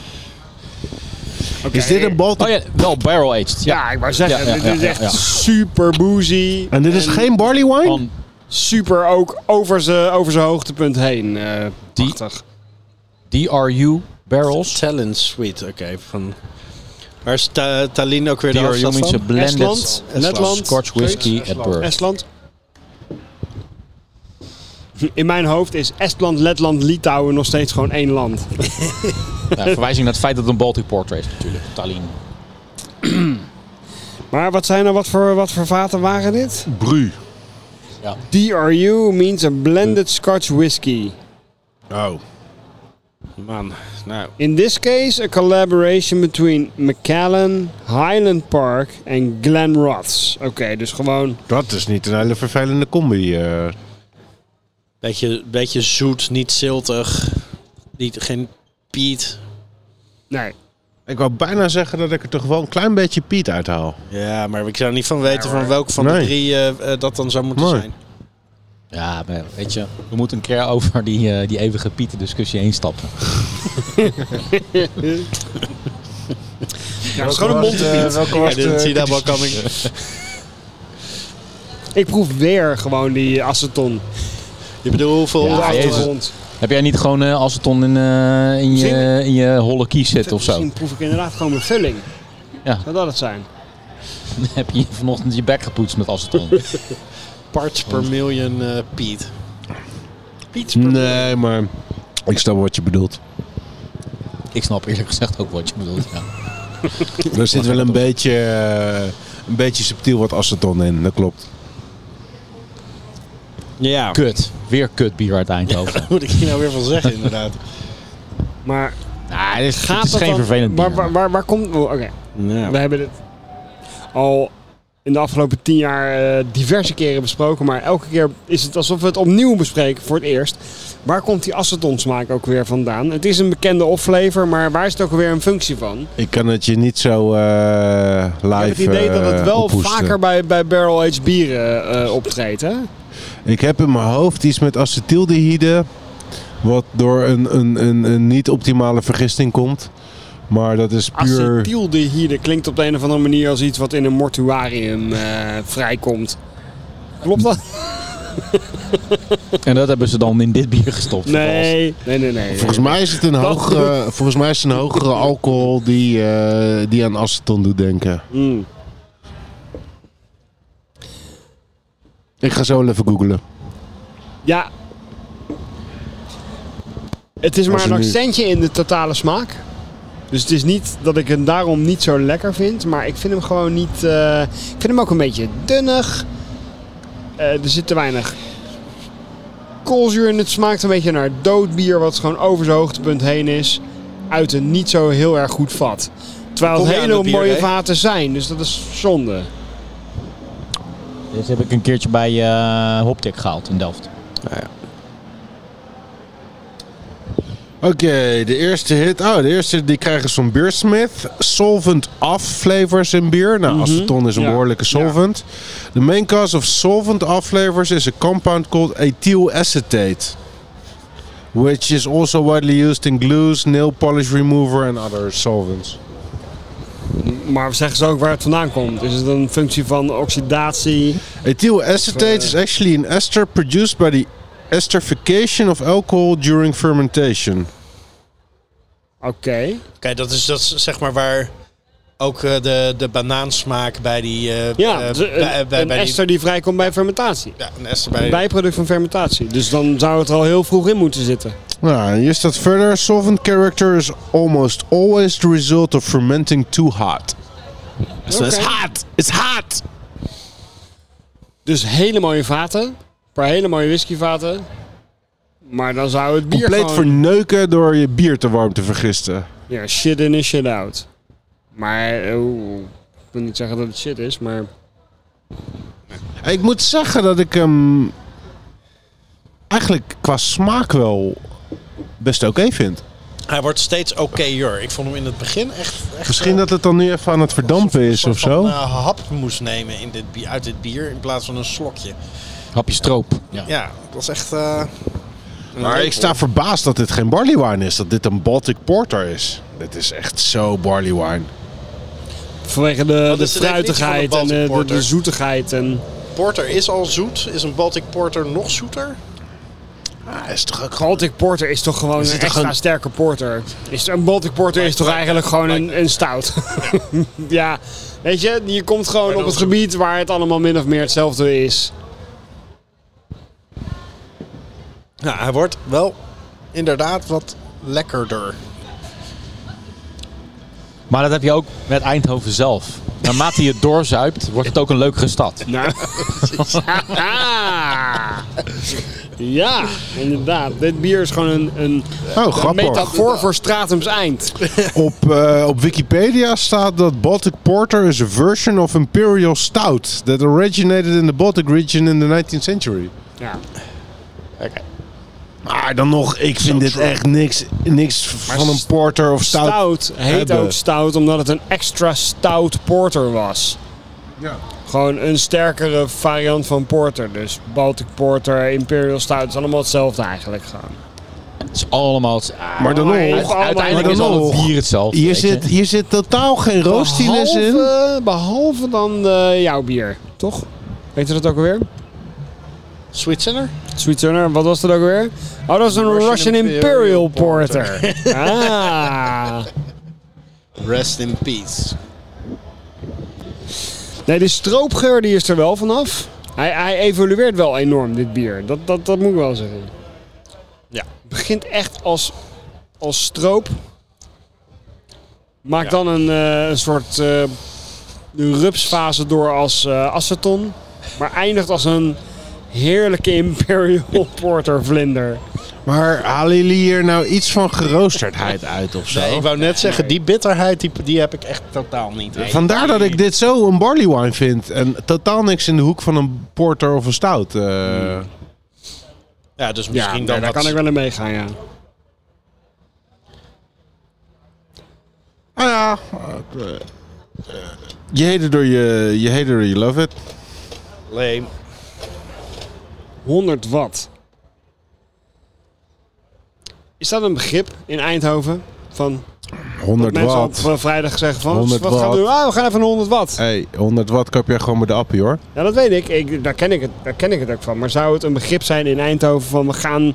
[SPEAKER 3] Is dit een Baltic...
[SPEAKER 1] Oh ja, wel barrel aged. Ja.
[SPEAKER 2] Ja, ik wou zeggen,
[SPEAKER 1] Ja, ja,
[SPEAKER 2] dit is
[SPEAKER 1] ja,
[SPEAKER 2] echt
[SPEAKER 1] ja.
[SPEAKER 2] super boozy.
[SPEAKER 3] En dit is geen barley wine?
[SPEAKER 1] Van
[SPEAKER 2] Super ook over zijn over z'n hoogtepunt heen. eh
[SPEAKER 1] Die-
[SPEAKER 2] prachtig.
[SPEAKER 1] DRU barrels.
[SPEAKER 4] Talent Suite, oké. van... Waar is Ta- Tallinn ook weer de
[SPEAKER 1] DRU
[SPEAKER 4] hoofdstad
[SPEAKER 1] means a
[SPEAKER 4] van?
[SPEAKER 1] blended
[SPEAKER 2] Estland, Letland,
[SPEAKER 1] Scotch whisky at birth.
[SPEAKER 2] Estland. In mijn hoofd is Estland, Letland, Litouwen nog steeds gewoon één land.
[SPEAKER 1] Ja, verwijzing naar het feit dat het een Baltic Porter is natuurlijk. Tallinn.
[SPEAKER 2] Maar wat zijn er, wat voor, wat voor vaten waren dit?
[SPEAKER 3] Bru.
[SPEAKER 2] DRU means a blended Scotch whisky.
[SPEAKER 3] Oh.
[SPEAKER 4] Man, nou...
[SPEAKER 2] In this case, a collaboration between Macallan, Highland Park en Glen Roths. Oké, dus gewoon
[SPEAKER 3] Dat is niet een hele vervelende combi. eh.
[SPEAKER 4] Beetje, beetje zoet, niet ziltig. Niet, geen piet.
[SPEAKER 2] Nee.
[SPEAKER 3] Ik wou bijna zeggen dat ik er toch wel een klein beetje Piet uithaal.
[SPEAKER 4] Ja, maar ik zou er niet van weten van welke van de
[SPEAKER 3] Nee.
[SPEAKER 4] drie eh, eh, dat dan zou moeten
[SPEAKER 3] Mooi.
[SPEAKER 4] zijn.
[SPEAKER 1] Ja, maar weet je, we moeten een keer over die, eh, die eeuwige Pieten discussie heen stappen.
[SPEAKER 2] Ja, dat is gewoon een mond.
[SPEAKER 4] Welke was de... See that one coming.
[SPEAKER 2] Ik proef weer gewoon die aceton.
[SPEAKER 4] Je bedoelt hoeveel...
[SPEAKER 1] Ja,
[SPEAKER 4] achter-
[SPEAKER 1] jezus. Heb jij niet gewoon eh, aceton in, eh, in, je,
[SPEAKER 2] Misschien-
[SPEAKER 1] in je holle kies zitten of zo?
[SPEAKER 2] Misschien proef ik inderdaad gewoon mijn vulling.
[SPEAKER 1] Ja.
[SPEAKER 2] Zou dat het zijn?
[SPEAKER 1] Heb je vanochtend je bek gepoetst met aceton?
[SPEAKER 4] parts per million eh piet.
[SPEAKER 3] Nee, maar ik snap wat je bedoelt.
[SPEAKER 1] Ik snap eerlijk gezegd ook wat je bedoelt. Ja.
[SPEAKER 3] Er zit wel een beetje, eh, een beetje subtiel wat aceton in, dat klopt.
[SPEAKER 4] Ja.
[SPEAKER 1] Kut. Weer kut bier uit Eindhoven.
[SPEAKER 4] Moet ik hier nou weer van zeggen, inderdaad.
[SPEAKER 2] Maar
[SPEAKER 1] Ja. Ah, dit is,
[SPEAKER 2] gaat
[SPEAKER 1] het is
[SPEAKER 2] dat
[SPEAKER 1] geen
[SPEAKER 2] dan-
[SPEAKER 1] vervelend bier.
[SPEAKER 2] Waar, waar, waar, waar komt... oh, Oké, we hebben dit al in de afgelopen tien jaar eh, diverse keren besproken. Maar elke keer is het alsof we het opnieuw bespreken voor het eerst. Waar komt die aceton smaak ook weer vandaan? Het is een bekende offlever, maar waar is het ook weer een functie van?
[SPEAKER 3] Ik kan het je niet zo eh,
[SPEAKER 2] Ik
[SPEAKER 3] live
[SPEAKER 2] heb het idee dat het
[SPEAKER 3] eh,
[SPEAKER 2] wel
[SPEAKER 3] ophoesten.
[SPEAKER 2] vaker bij, bij barrel-aged bieren eh, optreedt, hè?
[SPEAKER 3] Ik heb in mijn hoofd iets met acetyldehydre, wat door een, een, een, een niet optimale vergisting komt. Maar dat is puur...
[SPEAKER 2] Acetyldehydre klinkt op de een of andere manier als iets wat in een mortuarium eh, vrijkomt. Klopt dat?
[SPEAKER 1] En dat hebben ze dan in dit bier gestopt.
[SPEAKER 2] Nee. Nee, nee, nee.
[SPEAKER 3] Volgens mij is het een hogere, volgens mij is het een hogere alcohol die, eh, die aan aceton doet denken.
[SPEAKER 2] Mm.
[SPEAKER 3] Ik ga zo wel even googlen.
[SPEAKER 2] Ja. Het is maar
[SPEAKER 3] er
[SPEAKER 2] een
[SPEAKER 3] nu-
[SPEAKER 2] accentje in de totale smaak. Dus het is niet dat ik hem daarom niet zo lekker vind. Maar ik vind hem gewoon niet... eh, ik vind hem ook een beetje dunnig. Eh, er zit te weinig koolzuur in. Het smaakt een beetje naar doodbier. Wat gewoon over zijn hoogtepunt heen is. Uit een niet zo heel erg goed vat. Terwijl
[SPEAKER 4] Kom
[SPEAKER 2] het
[SPEAKER 4] je aan
[SPEAKER 2] hele
[SPEAKER 4] dat bier,
[SPEAKER 2] mooie
[SPEAKER 4] hè?
[SPEAKER 2] vaten zijn. Dus dat is zonde.
[SPEAKER 1] Dit heb ik een keertje bij eh Hoptic gehaald in Delft.
[SPEAKER 3] Oké, de eerste hit. Oh, de eerste die krijgen is van Beersmith. Solvent off flavors in beer. Nou, aceton is een
[SPEAKER 2] Mhm. Ja.
[SPEAKER 3] behoorlijke solvent. The main cause of solvent off flavors is a compound called ethyl acetate. Which is also widely used in glues, nail polish remover and other solvents.
[SPEAKER 2] Maar we zeggen ze ook waar het vandaan komt. Is het een functie van oxidatie?
[SPEAKER 3] Ethyl acetate is actually an ester produced by the esterification of alcohol during fermentation.
[SPEAKER 2] Oké.
[SPEAKER 4] Kijk, dat is, dat is zeg maar waar ook eh, de, de banaansmaak bij die... eh,
[SPEAKER 2] Ja,
[SPEAKER 4] eh,
[SPEAKER 2] het is een,
[SPEAKER 4] bij, bij,
[SPEAKER 2] een
[SPEAKER 4] bij die,
[SPEAKER 2] ester die vrijkomt bij fermentatie.
[SPEAKER 4] ja, een ester bij...
[SPEAKER 2] Een bijproduct van fermentatie. Dus dan zou het er al heel vroeg in moeten zitten.
[SPEAKER 3] Nou, hier staat verder. Solvent character is almost always the result of fermenting too hot.
[SPEAKER 2] is haat! is haat! Dus hele mooie vaten. Een paar hele mooie whiskyvaten. Maar dan zou het bier
[SPEAKER 3] Compleet
[SPEAKER 2] gewoon...
[SPEAKER 3] verneuken door je bier te warm te vergisten.
[SPEAKER 2] Ja, shit in en shit out. Maar... eh, oeh, ik wil niet zeggen dat het shit is, maar...
[SPEAKER 3] Ik moet zeggen dat ik hem eigenlijk qua smaak wel best oké vind.
[SPEAKER 4] Hij wordt steeds okéer. Ik vond hem in het begin echt... echt eh,
[SPEAKER 3] Misschien dat het dan nu even aan het verdampen is of zo.
[SPEAKER 4] Een eh, hap moest nemen in dit, bi- uit dit bier in plaats van een slokje.
[SPEAKER 1] Hapje stroop. Ja.
[SPEAKER 4] Ja, dat was echt... eh,
[SPEAKER 3] Maar ik sta verbaasd dat dit geen barley wine is. Dat dit een Baltic Porter is. Dit is echt zo barley wine.
[SPEAKER 2] Vanwege de,
[SPEAKER 4] Wat
[SPEAKER 2] de
[SPEAKER 4] is de definitie van een
[SPEAKER 2] fruitigheid en de, de,
[SPEAKER 4] Baltic
[SPEAKER 2] de zoetigheid. En,
[SPEAKER 4] Porter is al zoet. Is een Baltic Porter nog zoeter?
[SPEAKER 3] Ah, is toch ook gewoon...
[SPEAKER 2] Baltic Porter is toch gewoon een
[SPEAKER 3] toch
[SPEAKER 2] extra
[SPEAKER 3] een-
[SPEAKER 2] sterke porter. Is, een Baltic Porter is toch
[SPEAKER 4] lijkt-
[SPEAKER 2] eigenlijk gewoon een, een stout. ja, weet je, je komt gewoon op het gebied waar het allemaal min of meer hetzelfde is.
[SPEAKER 4] Ja, hij wordt wel inderdaad wat lekkerder.
[SPEAKER 1] Maar dat heb je ook met Eindhoven zelf. Naarmate je het doorzuipt, wordt het ook een leukere stad.
[SPEAKER 2] Nou. Haha. ja, inderdaad. Dit bier is gewoon een, een
[SPEAKER 3] Oh, grappig.
[SPEAKER 2] metafoor voor Stratums Eind.
[SPEAKER 3] Op, eh, op Wikipedia staat dat Baltic Porter is a version of Imperial Stout that originated in the Baltic region in the 19th century.
[SPEAKER 2] Ja.
[SPEAKER 3] Maar dan nog, ik vind dit echt niks, niks van een porter of stout.
[SPEAKER 2] Stout heet
[SPEAKER 3] hebben.
[SPEAKER 2] ook stout omdat het een extra stout porter was.
[SPEAKER 3] Ja.
[SPEAKER 2] Gewoon een sterkere variant van porter. Dus Baltic Porter, Imperial Stout, het is allemaal hetzelfde eigenlijk gewoon.
[SPEAKER 1] Het is allemaal... het-
[SPEAKER 3] Maar dan nog,
[SPEAKER 2] Hey,
[SPEAKER 1] Uite-
[SPEAKER 2] allemaal-
[SPEAKER 1] uiteindelijk
[SPEAKER 3] maar
[SPEAKER 1] is
[SPEAKER 3] dan
[SPEAKER 1] al het
[SPEAKER 3] nog.
[SPEAKER 1] bier hetzelfde.
[SPEAKER 3] hier
[SPEAKER 1] weet je.
[SPEAKER 3] zit, hier zit totaal geen roostinus in.
[SPEAKER 2] behalve, behalve dan eh, jouw bier, toch? Weet je dat ook alweer?
[SPEAKER 4] Zwitserner?
[SPEAKER 2] Sweet Turner, wat was dat ook weer? Oh, dat is een Russian,
[SPEAKER 4] Russian
[SPEAKER 2] Imperial,
[SPEAKER 4] Imperial
[SPEAKER 2] Porter. ah.
[SPEAKER 4] Rest in peace.
[SPEAKER 2] Nee, de stroopgeur die is er wel vanaf. Hij, hij evolueert wel enorm, dit bier. Dat, dat, dat moet ik wel zeggen.
[SPEAKER 4] Ja.
[SPEAKER 2] Het begint echt als, als stroop. Maakt dan een, eh, een soort eh, rupsfase door als eh, aceton. Maar eindigt als een heerlijke Imperial Porter vlinder.
[SPEAKER 3] Maar halen jullie hier nou iets van geroosterdheid uit of zo?
[SPEAKER 4] Nee, ik wou net zeggen, die bitterheid die, die heb ik echt totaal niet.
[SPEAKER 3] Vandaar dat ik dit zo een barley wine vind. En totaal niks in de hoek van een porter of een stout. eh.
[SPEAKER 4] Ja, dus
[SPEAKER 2] Ja,
[SPEAKER 4] misschien
[SPEAKER 2] nee,
[SPEAKER 4] dan
[SPEAKER 2] nou, daar
[SPEAKER 4] wat-
[SPEAKER 2] kan ik wel in meegaan, ja.
[SPEAKER 3] Nou ja. eh, eh, Je hate it or je, je hate it or you love it.
[SPEAKER 4] Leem.
[SPEAKER 2] 100 watt. Is dat een begrip in Eindhoven? Van
[SPEAKER 3] 100
[SPEAKER 2] mensen
[SPEAKER 3] watt.
[SPEAKER 2] op eh, vrijdag zeggen van,
[SPEAKER 3] 100
[SPEAKER 2] wat gaan we doen?
[SPEAKER 3] watt.
[SPEAKER 2] Ah, we gaan even naar 100 watt.
[SPEAKER 1] Eh.
[SPEAKER 3] Hey, 100 watt kap jij gewoon bij de appie hoor.
[SPEAKER 2] Ja, dat weet ik. ik, daar, ken ik het, daar ken ik het ook van. Maar zou het een begrip zijn in Eindhoven van, we gaan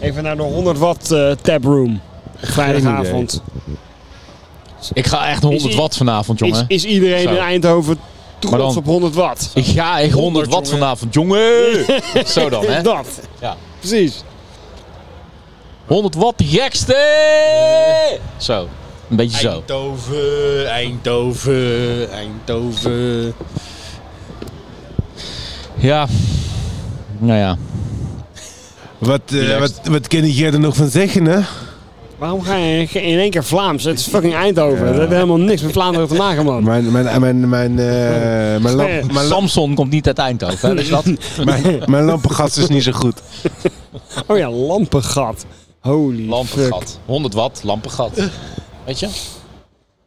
[SPEAKER 2] even naar de 100 watt eh, taproom? Vrijdagavond.
[SPEAKER 1] Ik ga echt
[SPEAKER 2] Is
[SPEAKER 1] 100
[SPEAKER 2] ie-
[SPEAKER 1] watt vanavond,
[SPEAKER 2] Is,
[SPEAKER 1] jongen.
[SPEAKER 2] is iedereen
[SPEAKER 1] Zo.
[SPEAKER 2] in Eindhoven trots
[SPEAKER 1] Maar dan-
[SPEAKER 2] op 100 watt?
[SPEAKER 1] Ik ga echt 100 watt vanavond, jongen. Zo dan, hè.
[SPEAKER 2] Dat.
[SPEAKER 1] Ja.
[SPEAKER 2] Precies.
[SPEAKER 1] 100 watt, die gekste! Zo, een beetje zo.
[SPEAKER 4] Eindhoven, Eindhoven, Eindhoven.
[SPEAKER 1] Ja, nou ja.
[SPEAKER 3] Wat, eh, wat, wat kan ik hier er nog van zeggen hè?
[SPEAKER 2] Waarom ga je in één keer Vlaams? Het is fucking Eindhoven. Dat heeft helemaal niks met Vlaanderen te maken, man.
[SPEAKER 3] Mijn, mijn, mijn, mijn, eh, mijn, lamp, mijn, lamp,
[SPEAKER 1] Samson komt niet uit Eindhoven, hè, weet je dat?
[SPEAKER 3] mijn, mijn lampengast is niet zo goed.
[SPEAKER 2] Oh ja, lampengat. Holy fuck.
[SPEAKER 1] Lampengat. 100 watt, lampengat. Weet je?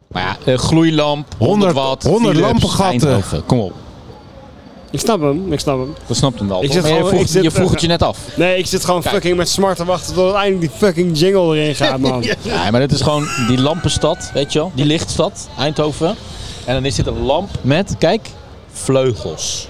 [SPEAKER 1] Maar ja, eh, gloeilamp, 100
[SPEAKER 3] 100
[SPEAKER 1] watt,
[SPEAKER 3] 100
[SPEAKER 1] Philips,
[SPEAKER 3] lampengatten.
[SPEAKER 1] Eindhoven. Kom op,
[SPEAKER 2] Ik snap hem, ik snap hem.
[SPEAKER 1] dat snapt hem wel.
[SPEAKER 2] Ik
[SPEAKER 1] toch?
[SPEAKER 2] zit
[SPEAKER 1] Maar
[SPEAKER 2] gewoon-
[SPEAKER 1] je vroeg,
[SPEAKER 2] ik zit-
[SPEAKER 1] je vroeg het je net af.
[SPEAKER 2] Nee, ik zit gewoon
[SPEAKER 1] Kijk.
[SPEAKER 2] fucking met smart te wachten tot uiteindelijk die fucking jingle erin gaat, man.
[SPEAKER 1] Nee, maar dit is gewoon die lampenstad, weet je wel? Die lichtstad, Eindhoven. En dan is dit een lamp met, kijk, vleugels.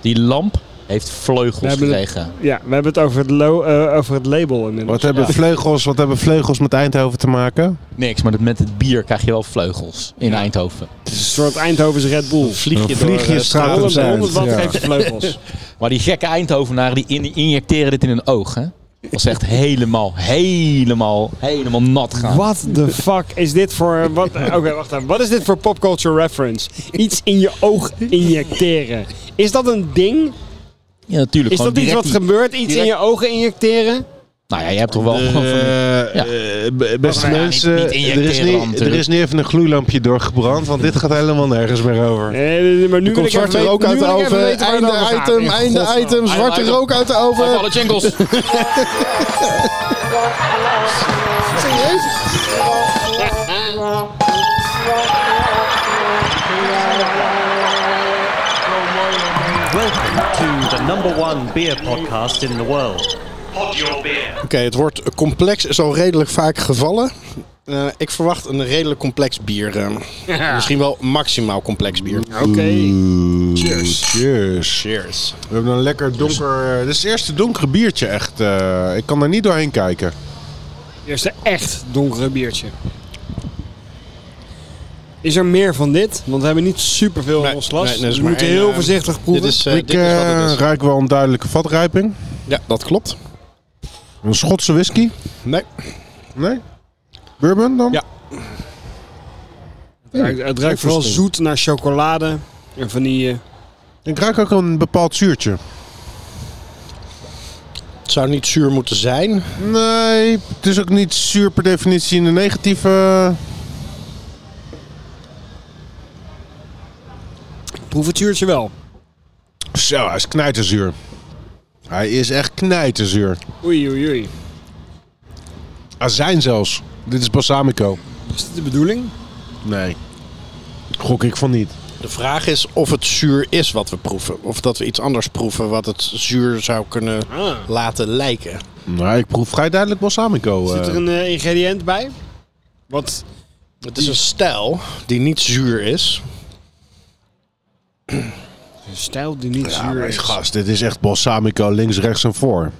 [SPEAKER 1] Die lamp heeft
[SPEAKER 2] We
[SPEAKER 1] vleugels
[SPEAKER 2] hebben het-
[SPEAKER 1] gekregen.
[SPEAKER 2] Ja, we hebben het over het, lo- eh, over het label inmiddels.
[SPEAKER 3] Wat hebben, vleugels, wat hebben vleugels met Eindhoven te maken?
[SPEAKER 1] Niks, maar met het bier krijg je wel vleugels in Eindhoven.
[SPEAKER 2] Een soort Eindhovense Red Bull.
[SPEAKER 4] Vlieg je
[SPEAKER 3] Een vliegje
[SPEAKER 4] door, eh,
[SPEAKER 3] straat
[SPEAKER 4] Stratum.
[SPEAKER 3] op
[SPEAKER 2] 100,
[SPEAKER 3] zijn.
[SPEAKER 2] 100 watt
[SPEAKER 3] Ja.
[SPEAKER 2] geeft je vleugels.
[SPEAKER 1] Maar die gekke Eindhovenaren die in- injecteren dit in hun oog. Hè? Dat is echt helemaal, helemaal, helemaal nat gaan.
[SPEAKER 2] What the fuck is dit voor... eh, wat- Oké, wacht even. Wat is dit voor popculture reference? Iets in je oog injecteren. Is dat een ding?
[SPEAKER 1] Ja, natuurlijk.
[SPEAKER 2] Is
[SPEAKER 1] gewoon
[SPEAKER 2] dat iets
[SPEAKER 1] direct
[SPEAKER 2] wat gebeurt? Iets in
[SPEAKER 1] direct-
[SPEAKER 2] je ogen injecteren?
[SPEAKER 1] Nou ja, je hebt toch wel gewoon van die-
[SPEAKER 3] Eh,
[SPEAKER 1] Ja.
[SPEAKER 3] eh, b- beste
[SPEAKER 1] Nou ja, niet-
[SPEAKER 3] mensen,
[SPEAKER 1] niet
[SPEAKER 3] er, is
[SPEAKER 1] injecteren dan
[SPEAKER 3] niet, er
[SPEAKER 1] natuurlijk.
[SPEAKER 3] is niet even een gloeilampje doorgebrand, want dit gaat helemaal nergens meer over.
[SPEAKER 2] Nee, maar nu wil ik
[SPEAKER 4] Komt
[SPEAKER 2] even
[SPEAKER 4] zwarte
[SPEAKER 2] weten-
[SPEAKER 4] rook
[SPEAKER 2] nu
[SPEAKER 4] uit de
[SPEAKER 2] wil ik even
[SPEAKER 4] oven.
[SPEAKER 2] weten waar het
[SPEAKER 4] Einde
[SPEAKER 2] over gaat.
[SPEAKER 4] item,
[SPEAKER 2] In
[SPEAKER 4] einde
[SPEAKER 2] godsnaam.
[SPEAKER 4] item. Zwarte
[SPEAKER 1] Einde
[SPEAKER 4] rook uit de
[SPEAKER 1] Uit
[SPEAKER 4] oven.
[SPEAKER 1] alle jingles.
[SPEAKER 5] Welcome to the number one beer podcast in the world. Pod your beer.
[SPEAKER 4] Oké, het wordt complex is al redelijk vaak gevallen. Eh, ik verwacht een redelijk complex bier. eh. Misschien wel maximaal complex bier.
[SPEAKER 2] Oké.
[SPEAKER 3] Cheers. Cheers.
[SPEAKER 4] Cheers.
[SPEAKER 3] We hebben een
[SPEAKER 4] Dus-
[SPEAKER 3] lekker donker... eh, Dit is het eerste donkere biertje echt. eh, ik kan er niet doorheen kijken.
[SPEAKER 2] Eerste echt donkere biertje. Is er meer van dit? Want we hebben niet superveel in
[SPEAKER 4] Nee,
[SPEAKER 2] ons glas. Dus
[SPEAKER 4] nee, er is
[SPEAKER 2] we
[SPEAKER 4] maar
[SPEAKER 2] moeten
[SPEAKER 4] één,
[SPEAKER 2] heel
[SPEAKER 4] eh,
[SPEAKER 2] voorzichtig proeven.
[SPEAKER 4] Dit is, eh,
[SPEAKER 3] ik
[SPEAKER 4] dit is wat
[SPEAKER 3] eh,
[SPEAKER 4] het is.
[SPEAKER 3] ruik wel een duidelijke vatrijping.
[SPEAKER 4] Ja, dat klopt.
[SPEAKER 3] Een Schotse whisky?
[SPEAKER 4] Nee.
[SPEAKER 3] Nee? Bourbon dan?
[SPEAKER 4] Ja. eh,
[SPEAKER 2] het ruikt, het ruikt vooral zoet naar chocolade en eh, vanille.
[SPEAKER 3] Ik ruik ook een bepaald zuurtje.
[SPEAKER 4] Het zou niet zuur moeten zijn.
[SPEAKER 3] Nee, het is ook niet zuur per definitie in de negatieve... eh.
[SPEAKER 2] Proef het zuurtje wel.
[SPEAKER 3] Zo, hij is knijterzuur. Hij is echt knijterzuur.
[SPEAKER 2] Oei, oei, oei.
[SPEAKER 3] Azijn zelfs. Dit is balsamico.
[SPEAKER 2] Is dit de bedoeling?
[SPEAKER 3] Nee. Gok ik van niet.
[SPEAKER 4] De vraag is of het zuur is wat we proeven. Of dat we iets anders proeven wat het zuur zou kunnen
[SPEAKER 2] Ah.
[SPEAKER 4] laten lijken.
[SPEAKER 3] Nou, ik proef vrij duidelijk balsamico.
[SPEAKER 2] Zit er
[SPEAKER 3] eh.
[SPEAKER 2] een eh, ingrediënt bij? Wat?
[SPEAKER 4] Het is een stijl die niet zuur is.
[SPEAKER 2] Een stijl die niet
[SPEAKER 3] Ja,
[SPEAKER 2] zuur
[SPEAKER 3] maar
[SPEAKER 2] is.
[SPEAKER 3] gast, dit is echt balsamico links, rechts en voor.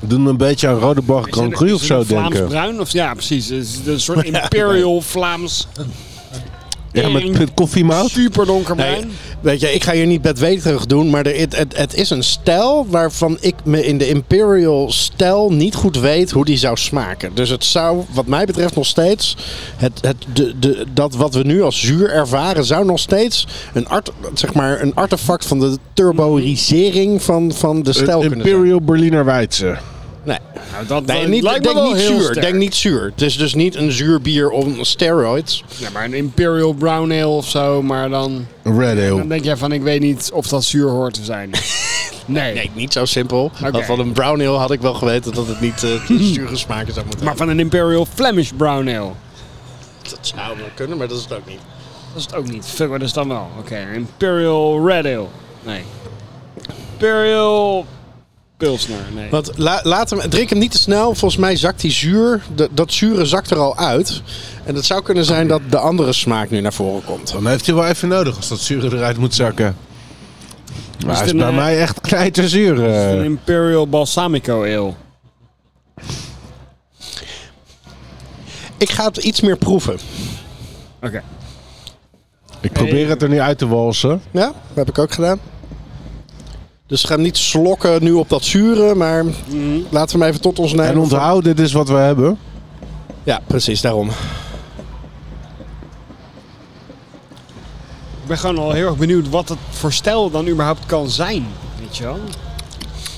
[SPEAKER 3] Doen me een beetje aan Rode Bar Grand Cru of zo denken.
[SPEAKER 2] Vlaams-bruin? Of, ja, precies. Het is een soort imperial Vlaams.
[SPEAKER 3] Ja, met, met koffiemout.
[SPEAKER 2] Super donkerbruin.
[SPEAKER 4] Weet je, ik ga hier niet bedweterig doen, maar er, het, het, het is een stijl waarvan ik me in de Imperial stijl niet goed weet hoe die zou smaken. Dus het zou, wat mij betreft, nog steeds. Het, het, de, de, dat wat we nu als zuur ervaren, zou nog steeds een, art, zeg maar, een artefact van de turborisering van, van de stijl kunnen zijn.
[SPEAKER 3] Imperial Berliner Weitse.
[SPEAKER 4] Nee,
[SPEAKER 2] Nou, dat
[SPEAKER 4] nee
[SPEAKER 2] dat
[SPEAKER 4] niet,
[SPEAKER 2] lijkt me
[SPEAKER 4] denk,
[SPEAKER 2] wel
[SPEAKER 4] niet
[SPEAKER 2] heel
[SPEAKER 4] zuur,
[SPEAKER 2] sterk.
[SPEAKER 4] denk niet zuur. Het is dus niet een zuur bier op steroids.
[SPEAKER 2] Ja, maar een Imperial Brown Ale of zo, maar dan,
[SPEAKER 3] Red Ale.
[SPEAKER 2] dan denk jij van ik weet niet of dat zuur hoort te zijn. Nee.
[SPEAKER 4] Nee, niet zo simpel.
[SPEAKER 2] Oké.
[SPEAKER 4] Want van een brown ale had ik wel geweten dat het niet eh zure smaken zou moeten
[SPEAKER 2] Maar van een Imperial Flemish Brown Ale.
[SPEAKER 4] Dat zou wel kunnen, maar dat is het ook niet.
[SPEAKER 2] Dat is het ook niet. Fuck, wat is dan wel? Oké, een Imperial Red Ale. Nee. Imperial Pilsner. Nee.
[SPEAKER 4] Want la, laat hem, drink hem niet te snel. Volgens mij zakt die zuur. de- dat zure zakt er al uit. En het zou kunnen zijn dat de andere smaak nu naar voren komt.
[SPEAKER 3] Dan heeft hij wel even nodig als dat zuur eruit moet zakken. Maar hij
[SPEAKER 2] het
[SPEAKER 3] is
[SPEAKER 2] een,
[SPEAKER 3] bij
[SPEAKER 2] eh,
[SPEAKER 3] mij echt knijterzuur. eh.
[SPEAKER 2] Een Imperial Balsamico Ale.
[SPEAKER 4] Ik ga het iets meer proeven.
[SPEAKER 2] Oké.
[SPEAKER 3] Ik probeer het er nu uit te walsen.
[SPEAKER 4] Ja, dat heb ik ook gedaan. Dus ga hem niet slokken nu op dat zure, maar laten we hem even tot ons nemen.
[SPEAKER 3] En onthoud, dit is wat we hebben.
[SPEAKER 4] Ja, precies, daarom.
[SPEAKER 2] Ik ben gewoon al heel erg benieuwd wat het voor stijl dan überhaupt kan zijn. Weet je wel?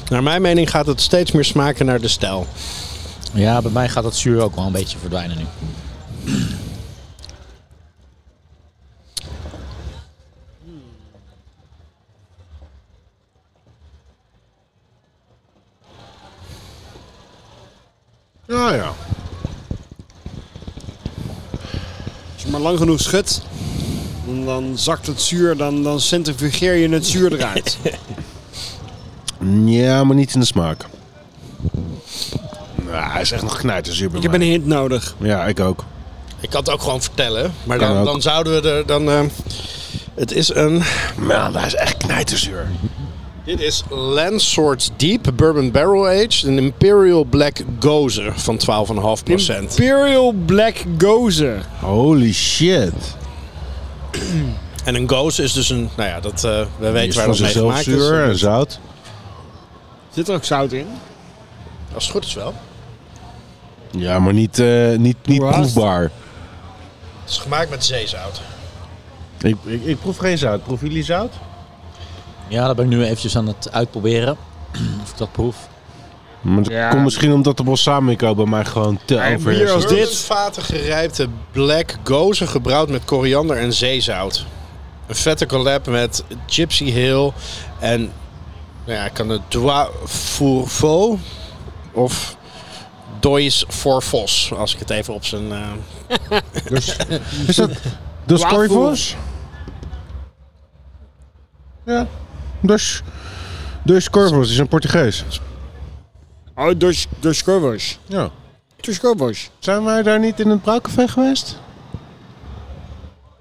[SPEAKER 4] Naar mijn mening gaat het steeds meer smaken naar de stijl.
[SPEAKER 1] Ja, bij mij gaat dat zuur ook wel een beetje verdwijnen nu.
[SPEAKER 3] Ja, ja.
[SPEAKER 2] Als je maar lang genoeg schudt, dan, dan zakt het zuur, dan, dan centrifugeer je het zuur eruit.
[SPEAKER 3] Ja, maar niet in de smaak. Nou, hij is echt nog knijterzuur bij
[SPEAKER 2] Ik heb een
[SPEAKER 3] mij.
[SPEAKER 2] hint nodig.
[SPEAKER 3] Ja, ik ook.
[SPEAKER 4] Ik kan het ook gewoon vertellen, maar
[SPEAKER 3] Kan
[SPEAKER 4] dan,
[SPEAKER 3] ook.
[SPEAKER 4] dan zouden we er dan. eh, het is een.
[SPEAKER 3] Nou, hij is echt knijterzuur.
[SPEAKER 4] Dit is Landswords Deep Bourbon Barrel Aged, een Imperial Black Gozer van 12,5%.
[SPEAKER 2] Imperial Black Gozer.
[SPEAKER 3] Holy shit.
[SPEAKER 4] En een gozer is dus een. Nou ja, dat, eh, we
[SPEAKER 3] Hij
[SPEAKER 4] weten
[SPEAKER 3] is
[SPEAKER 4] waar
[SPEAKER 3] van
[SPEAKER 4] dat mee
[SPEAKER 3] zichzelf
[SPEAKER 4] gemaakt
[SPEAKER 3] zuur en
[SPEAKER 4] is.
[SPEAKER 3] zout.
[SPEAKER 2] Zit er ook zout in?
[SPEAKER 4] Als het goed is wel.
[SPEAKER 3] Ja, maar niet, eh, niet, niet
[SPEAKER 2] Hoe haast?
[SPEAKER 3] proefbaar.
[SPEAKER 4] Het is gemaakt met zeezout.
[SPEAKER 3] Ik, ik, ik proef geen zout. Proeven jullie zout?
[SPEAKER 1] Ja, dat ben ik nu eventjes aan het uitproberen. Of ik dat proef.
[SPEAKER 3] Maar dat
[SPEAKER 2] Ja.
[SPEAKER 3] komt misschien omdat de balsamico bij mij gewoon te
[SPEAKER 2] Maar
[SPEAKER 3] over
[SPEAKER 2] bier
[SPEAKER 3] is.
[SPEAKER 2] als dit-
[SPEAKER 4] Bourbonvaten gerijpte black gozer gebrouwd met koriander en zeezout. Een vette collab met Gypsy Hill en nou ja, ik kan het Dois Fourveau of Dois Forfos, als ik het even op zijn... eh,
[SPEAKER 3] Is dat Dos
[SPEAKER 2] Wafels.
[SPEAKER 3] Corvos? Ja. Dos, dos Corvos dus is een Portugees.
[SPEAKER 2] Oh, dus, dus covers.
[SPEAKER 3] Ja.
[SPEAKER 2] Dus covers.
[SPEAKER 3] Zijn wij daar niet in het Brouwcafé geweest?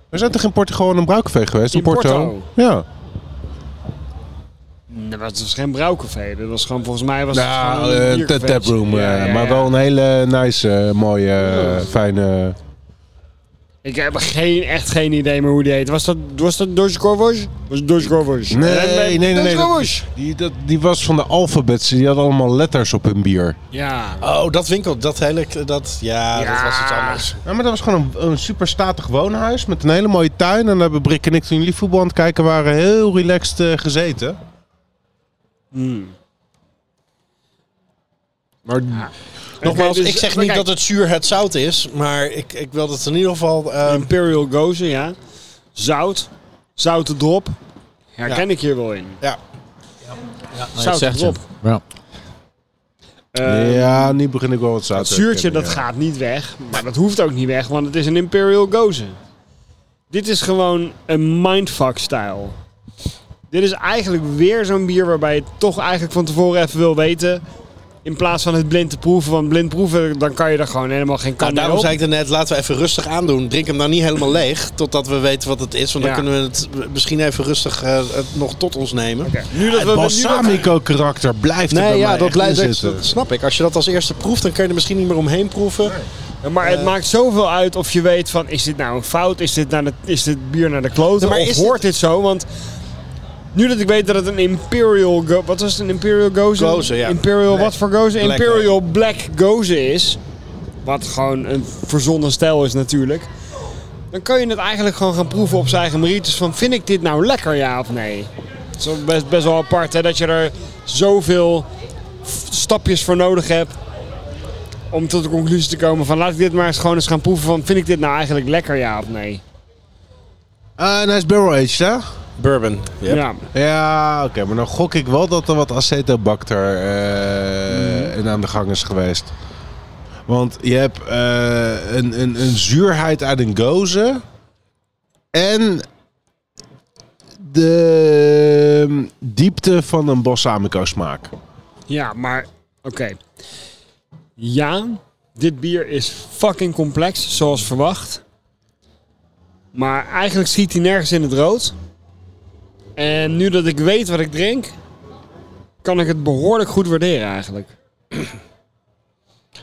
[SPEAKER 3] We zijn toch in Portugal in een Brouwcafé geweest? In,
[SPEAKER 2] In Porto.
[SPEAKER 3] Ja.
[SPEAKER 2] Nee, maar het was dus geen brouwcafé. Dat was gewoon, volgens mij was het
[SPEAKER 3] Nou,
[SPEAKER 2] gewoon een
[SPEAKER 3] eh,
[SPEAKER 2] biercafé.
[SPEAKER 3] ta- taproom. eh,
[SPEAKER 2] Ja, ja, Oh. ja.
[SPEAKER 3] Maar wel een hele nice, eh, mooie, eh, fijne...
[SPEAKER 2] Ik heb geen, echt geen idee meer hoe die heet. Was dat, was dat Dutch Covers? Was het Dutch Covers?
[SPEAKER 3] Nee, nee, nee, nee,
[SPEAKER 2] Dutch
[SPEAKER 3] dat-
[SPEAKER 2] Covers.
[SPEAKER 3] Die, dat, die was van de alfabets. Die had allemaal letters op hun bier.
[SPEAKER 2] Ja.
[SPEAKER 4] Oh, dat winkel, dat hele... Dat, ja, dat was iets anders.
[SPEAKER 3] Ja, maar dat was gewoon een, een super statig woonhuis met een hele mooie tuin. En daar hebben Brik en ik toen jullie voetbal aan het kijken waren heel relaxed eh, gezeten. Maar
[SPEAKER 4] Nogmaals,
[SPEAKER 2] Oké, dus-
[SPEAKER 4] ik zeg
[SPEAKER 2] maar
[SPEAKER 4] niet
[SPEAKER 2] kijk,
[SPEAKER 4] dat het zuur het zout is, maar ik, ik wil dat het in ieder geval... eh,
[SPEAKER 2] Imperial Gozer, ja. Zout. Zouten drop. Herken ik hier wel in.
[SPEAKER 4] ja.
[SPEAKER 1] Nee,
[SPEAKER 2] Zout
[SPEAKER 1] zegt ze.
[SPEAKER 2] erop.
[SPEAKER 1] Ja.
[SPEAKER 2] Eh,
[SPEAKER 3] ja, nu begin ik wel wat zout
[SPEAKER 2] Het
[SPEAKER 3] te
[SPEAKER 2] zuurtje dat
[SPEAKER 3] herkennen, ja.
[SPEAKER 2] gaat niet weg, maar dat hoeft ook niet weg, want het is een Imperial Gozer. Dit is gewoon een mindfuck-stijl. Dit is eigenlijk weer zo'n bier waarbij je toch eigenlijk van tevoren even wil weten. In plaats van het blind te proeven, want blind proeven, dan kan je er gewoon helemaal geen
[SPEAKER 4] Nou,
[SPEAKER 2] kant meer
[SPEAKER 4] daarom
[SPEAKER 2] op.
[SPEAKER 4] zei ik er net, laten we even rustig aandoen. Drink hem nou niet helemaal leeg, totdat we weten wat het is. Want dan
[SPEAKER 2] Ja.
[SPEAKER 4] kunnen we het misschien even rustig eh, het nog tot ons nemen.
[SPEAKER 2] Nu dat
[SPEAKER 3] Het
[SPEAKER 2] we nu dat-
[SPEAKER 3] balsamico-karakter blijft er
[SPEAKER 4] Nee,
[SPEAKER 3] bij
[SPEAKER 4] ja,
[SPEAKER 3] mij
[SPEAKER 4] dat,
[SPEAKER 3] echt
[SPEAKER 4] blijft,
[SPEAKER 3] in
[SPEAKER 4] dat,
[SPEAKER 3] zitten.
[SPEAKER 4] dat snap ik. Als je dat als eerste proeft, dan kun je er misschien niet meer omheen proeven.
[SPEAKER 2] Maar
[SPEAKER 4] Eh,
[SPEAKER 2] het maakt zoveel uit of je weet van, is dit nou een fout? Is dit, naar de, is dit bier naar de kloten?
[SPEAKER 4] Ja, maar
[SPEAKER 2] of
[SPEAKER 4] is
[SPEAKER 2] hoort dit... zo? Want nu dat ik weet dat het een Imperial... Go- wat was het? Een Imperial Gozer?
[SPEAKER 4] Gozer, ja.
[SPEAKER 2] Imperial
[SPEAKER 4] Black.
[SPEAKER 2] wat voor Gozer?
[SPEAKER 4] Black
[SPEAKER 2] Imperial Black Gozer is. Wat gewoon een verzonnen stijl is natuurlijk. Dan kan je het eigenlijk gewoon gaan proeven op zijn eigen merites. Van, vind ik dit nou lekker, ja of nee? Het is wel best, best wel apart, hè? Dat je er zoveel f- stapjes voor nodig hebt om tot de conclusie te komen van laat ik dit maar eens gewoon eens gaan proeven van vind ik dit nou eigenlijk lekker ja of nee?
[SPEAKER 3] Ah, en hij is barrel-aged, hè?
[SPEAKER 4] Bourbon. Yep.
[SPEAKER 2] Ja.
[SPEAKER 3] Ja, oké. maar dan gok ik wel dat er wat acetobacter eh, in aan de gang is geweest. Want je hebt eh, een, een, een zuurheid uit een gozer. En de diepte van een balsamico smaak.
[SPEAKER 2] Ja, maar oké. Ja, dit bier is fucking complex zoals verwacht. Maar eigenlijk schiet hij nergens in het rood. En nu dat ik weet wat ik drink, kan ik het behoorlijk goed waarderen eigenlijk.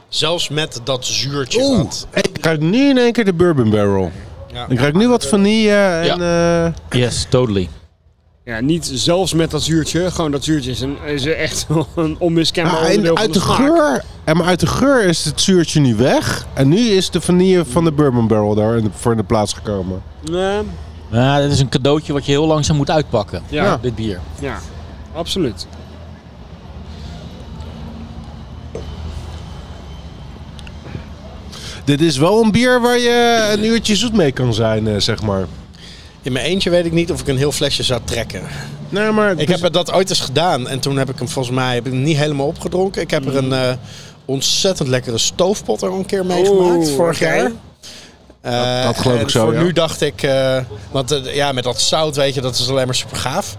[SPEAKER 4] Zelfs met dat zuurtje.
[SPEAKER 3] Oeh,
[SPEAKER 4] wat-
[SPEAKER 3] ik ruik nu in één keer de bourbon barrel.
[SPEAKER 4] Ja.
[SPEAKER 3] Ik ruik nu wat vanille en... eh,
[SPEAKER 1] Yes, totally.
[SPEAKER 2] Ja, niet zelfs met dat zuurtje. Gewoon dat zuurtje is, een, is echt wel een onmiskenbaar
[SPEAKER 3] Ja,
[SPEAKER 2] onderdeel
[SPEAKER 3] Ah, en
[SPEAKER 2] van
[SPEAKER 3] uit
[SPEAKER 2] de,
[SPEAKER 3] de,
[SPEAKER 2] smaak.
[SPEAKER 3] geur, en maar uit de geur is het zuurtje nu weg. En nu is de vanille van de bourbon barrel daar in de- voor in de plaats gekomen.
[SPEAKER 2] Nee,
[SPEAKER 1] Ja, dit is een cadeautje wat je heel langzaam moet uitpakken.
[SPEAKER 2] ja.
[SPEAKER 1] Dit bier.
[SPEAKER 2] Ja, absoluut.
[SPEAKER 3] Dit is wel een bier waar je een uurtje zoet mee kan zijn, eh, zeg maar.
[SPEAKER 4] In mijn eentje weet ik niet of ik een heel flesje zou trekken.
[SPEAKER 3] Nee, maar
[SPEAKER 4] Ik heb dat ooit eens gedaan en toen heb ik hem volgens mij heb ik hem niet helemaal opgedronken. Ik heb er een eh, ontzettend lekkere stoofpot er een keer meegemaakt
[SPEAKER 2] Oeh,
[SPEAKER 4] vorig
[SPEAKER 2] oké.
[SPEAKER 4] jaar. Eh,
[SPEAKER 3] dat geloof
[SPEAKER 4] en
[SPEAKER 3] ik zo,
[SPEAKER 4] Voor
[SPEAKER 3] ja.
[SPEAKER 4] nu dacht ik, eh, want eh, ja, met dat zout weet je, dat is alleen maar super gaaf.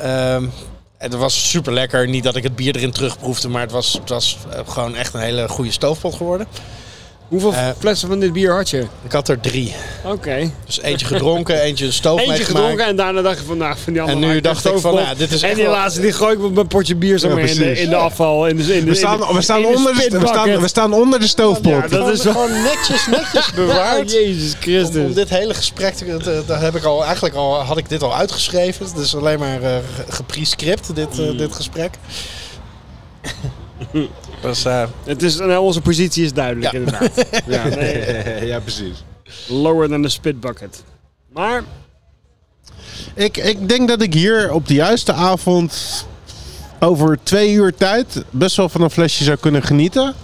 [SPEAKER 4] Ehm, het was super lekker. Niet dat ik het bier erin terugproefde, maar het was, het was eh, gewoon echt een hele goede stoofpot geworden.
[SPEAKER 2] Hoeveel
[SPEAKER 4] Eh,
[SPEAKER 2] flessen van dit bier had je?
[SPEAKER 4] Ik had er drie.
[SPEAKER 2] Oké.
[SPEAKER 4] Dus eentje gedronken, eentje een stoof
[SPEAKER 2] Eentje
[SPEAKER 4] meegemaakt.
[SPEAKER 2] gedronken en daarna dacht je van, nou, van die andere
[SPEAKER 4] En nu
[SPEAKER 2] maak ik
[SPEAKER 4] dacht
[SPEAKER 2] er
[SPEAKER 4] ik van,
[SPEAKER 2] zoveel
[SPEAKER 4] nou,
[SPEAKER 2] op.
[SPEAKER 4] dit is
[SPEAKER 2] En
[SPEAKER 4] echt
[SPEAKER 2] die
[SPEAKER 4] wel-
[SPEAKER 2] laatste, die gooi ik met mijn potje bier zo
[SPEAKER 3] Ja,
[SPEAKER 2] mee in de,
[SPEAKER 3] precies.
[SPEAKER 2] in de afval. In de, in de,
[SPEAKER 3] we, staan, we, staan
[SPEAKER 2] in de
[SPEAKER 3] onder de, we,
[SPEAKER 2] spitbucket.
[SPEAKER 3] staan, we staan onder de stoofpot.
[SPEAKER 2] Ja, dat is wel
[SPEAKER 4] netjes, netjes
[SPEAKER 2] bewaard.
[SPEAKER 4] bewaard.
[SPEAKER 2] Jezus
[SPEAKER 4] Om, om
[SPEAKER 2] Christus.
[SPEAKER 4] dit hele gesprek, te- te- daar heb ik al eigenlijk al had ik dit al uitgeschreven. Het is alleen maar eh, ge- geprescript dit, eh, dit gesprek. Dus, eh,
[SPEAKER 2] Het is, nou, onze positie is duidelijk, inderdaad. Ja, nee,
[SPEAKER 3] ja, precies.
[SPEAKER 2] lower than the spitbucket. Maar,
[SPEAKER 3] Ik, ik denk dat ik hier op de juiste avond over twee uur tijd best wel van een flesje zou kunnen genieten.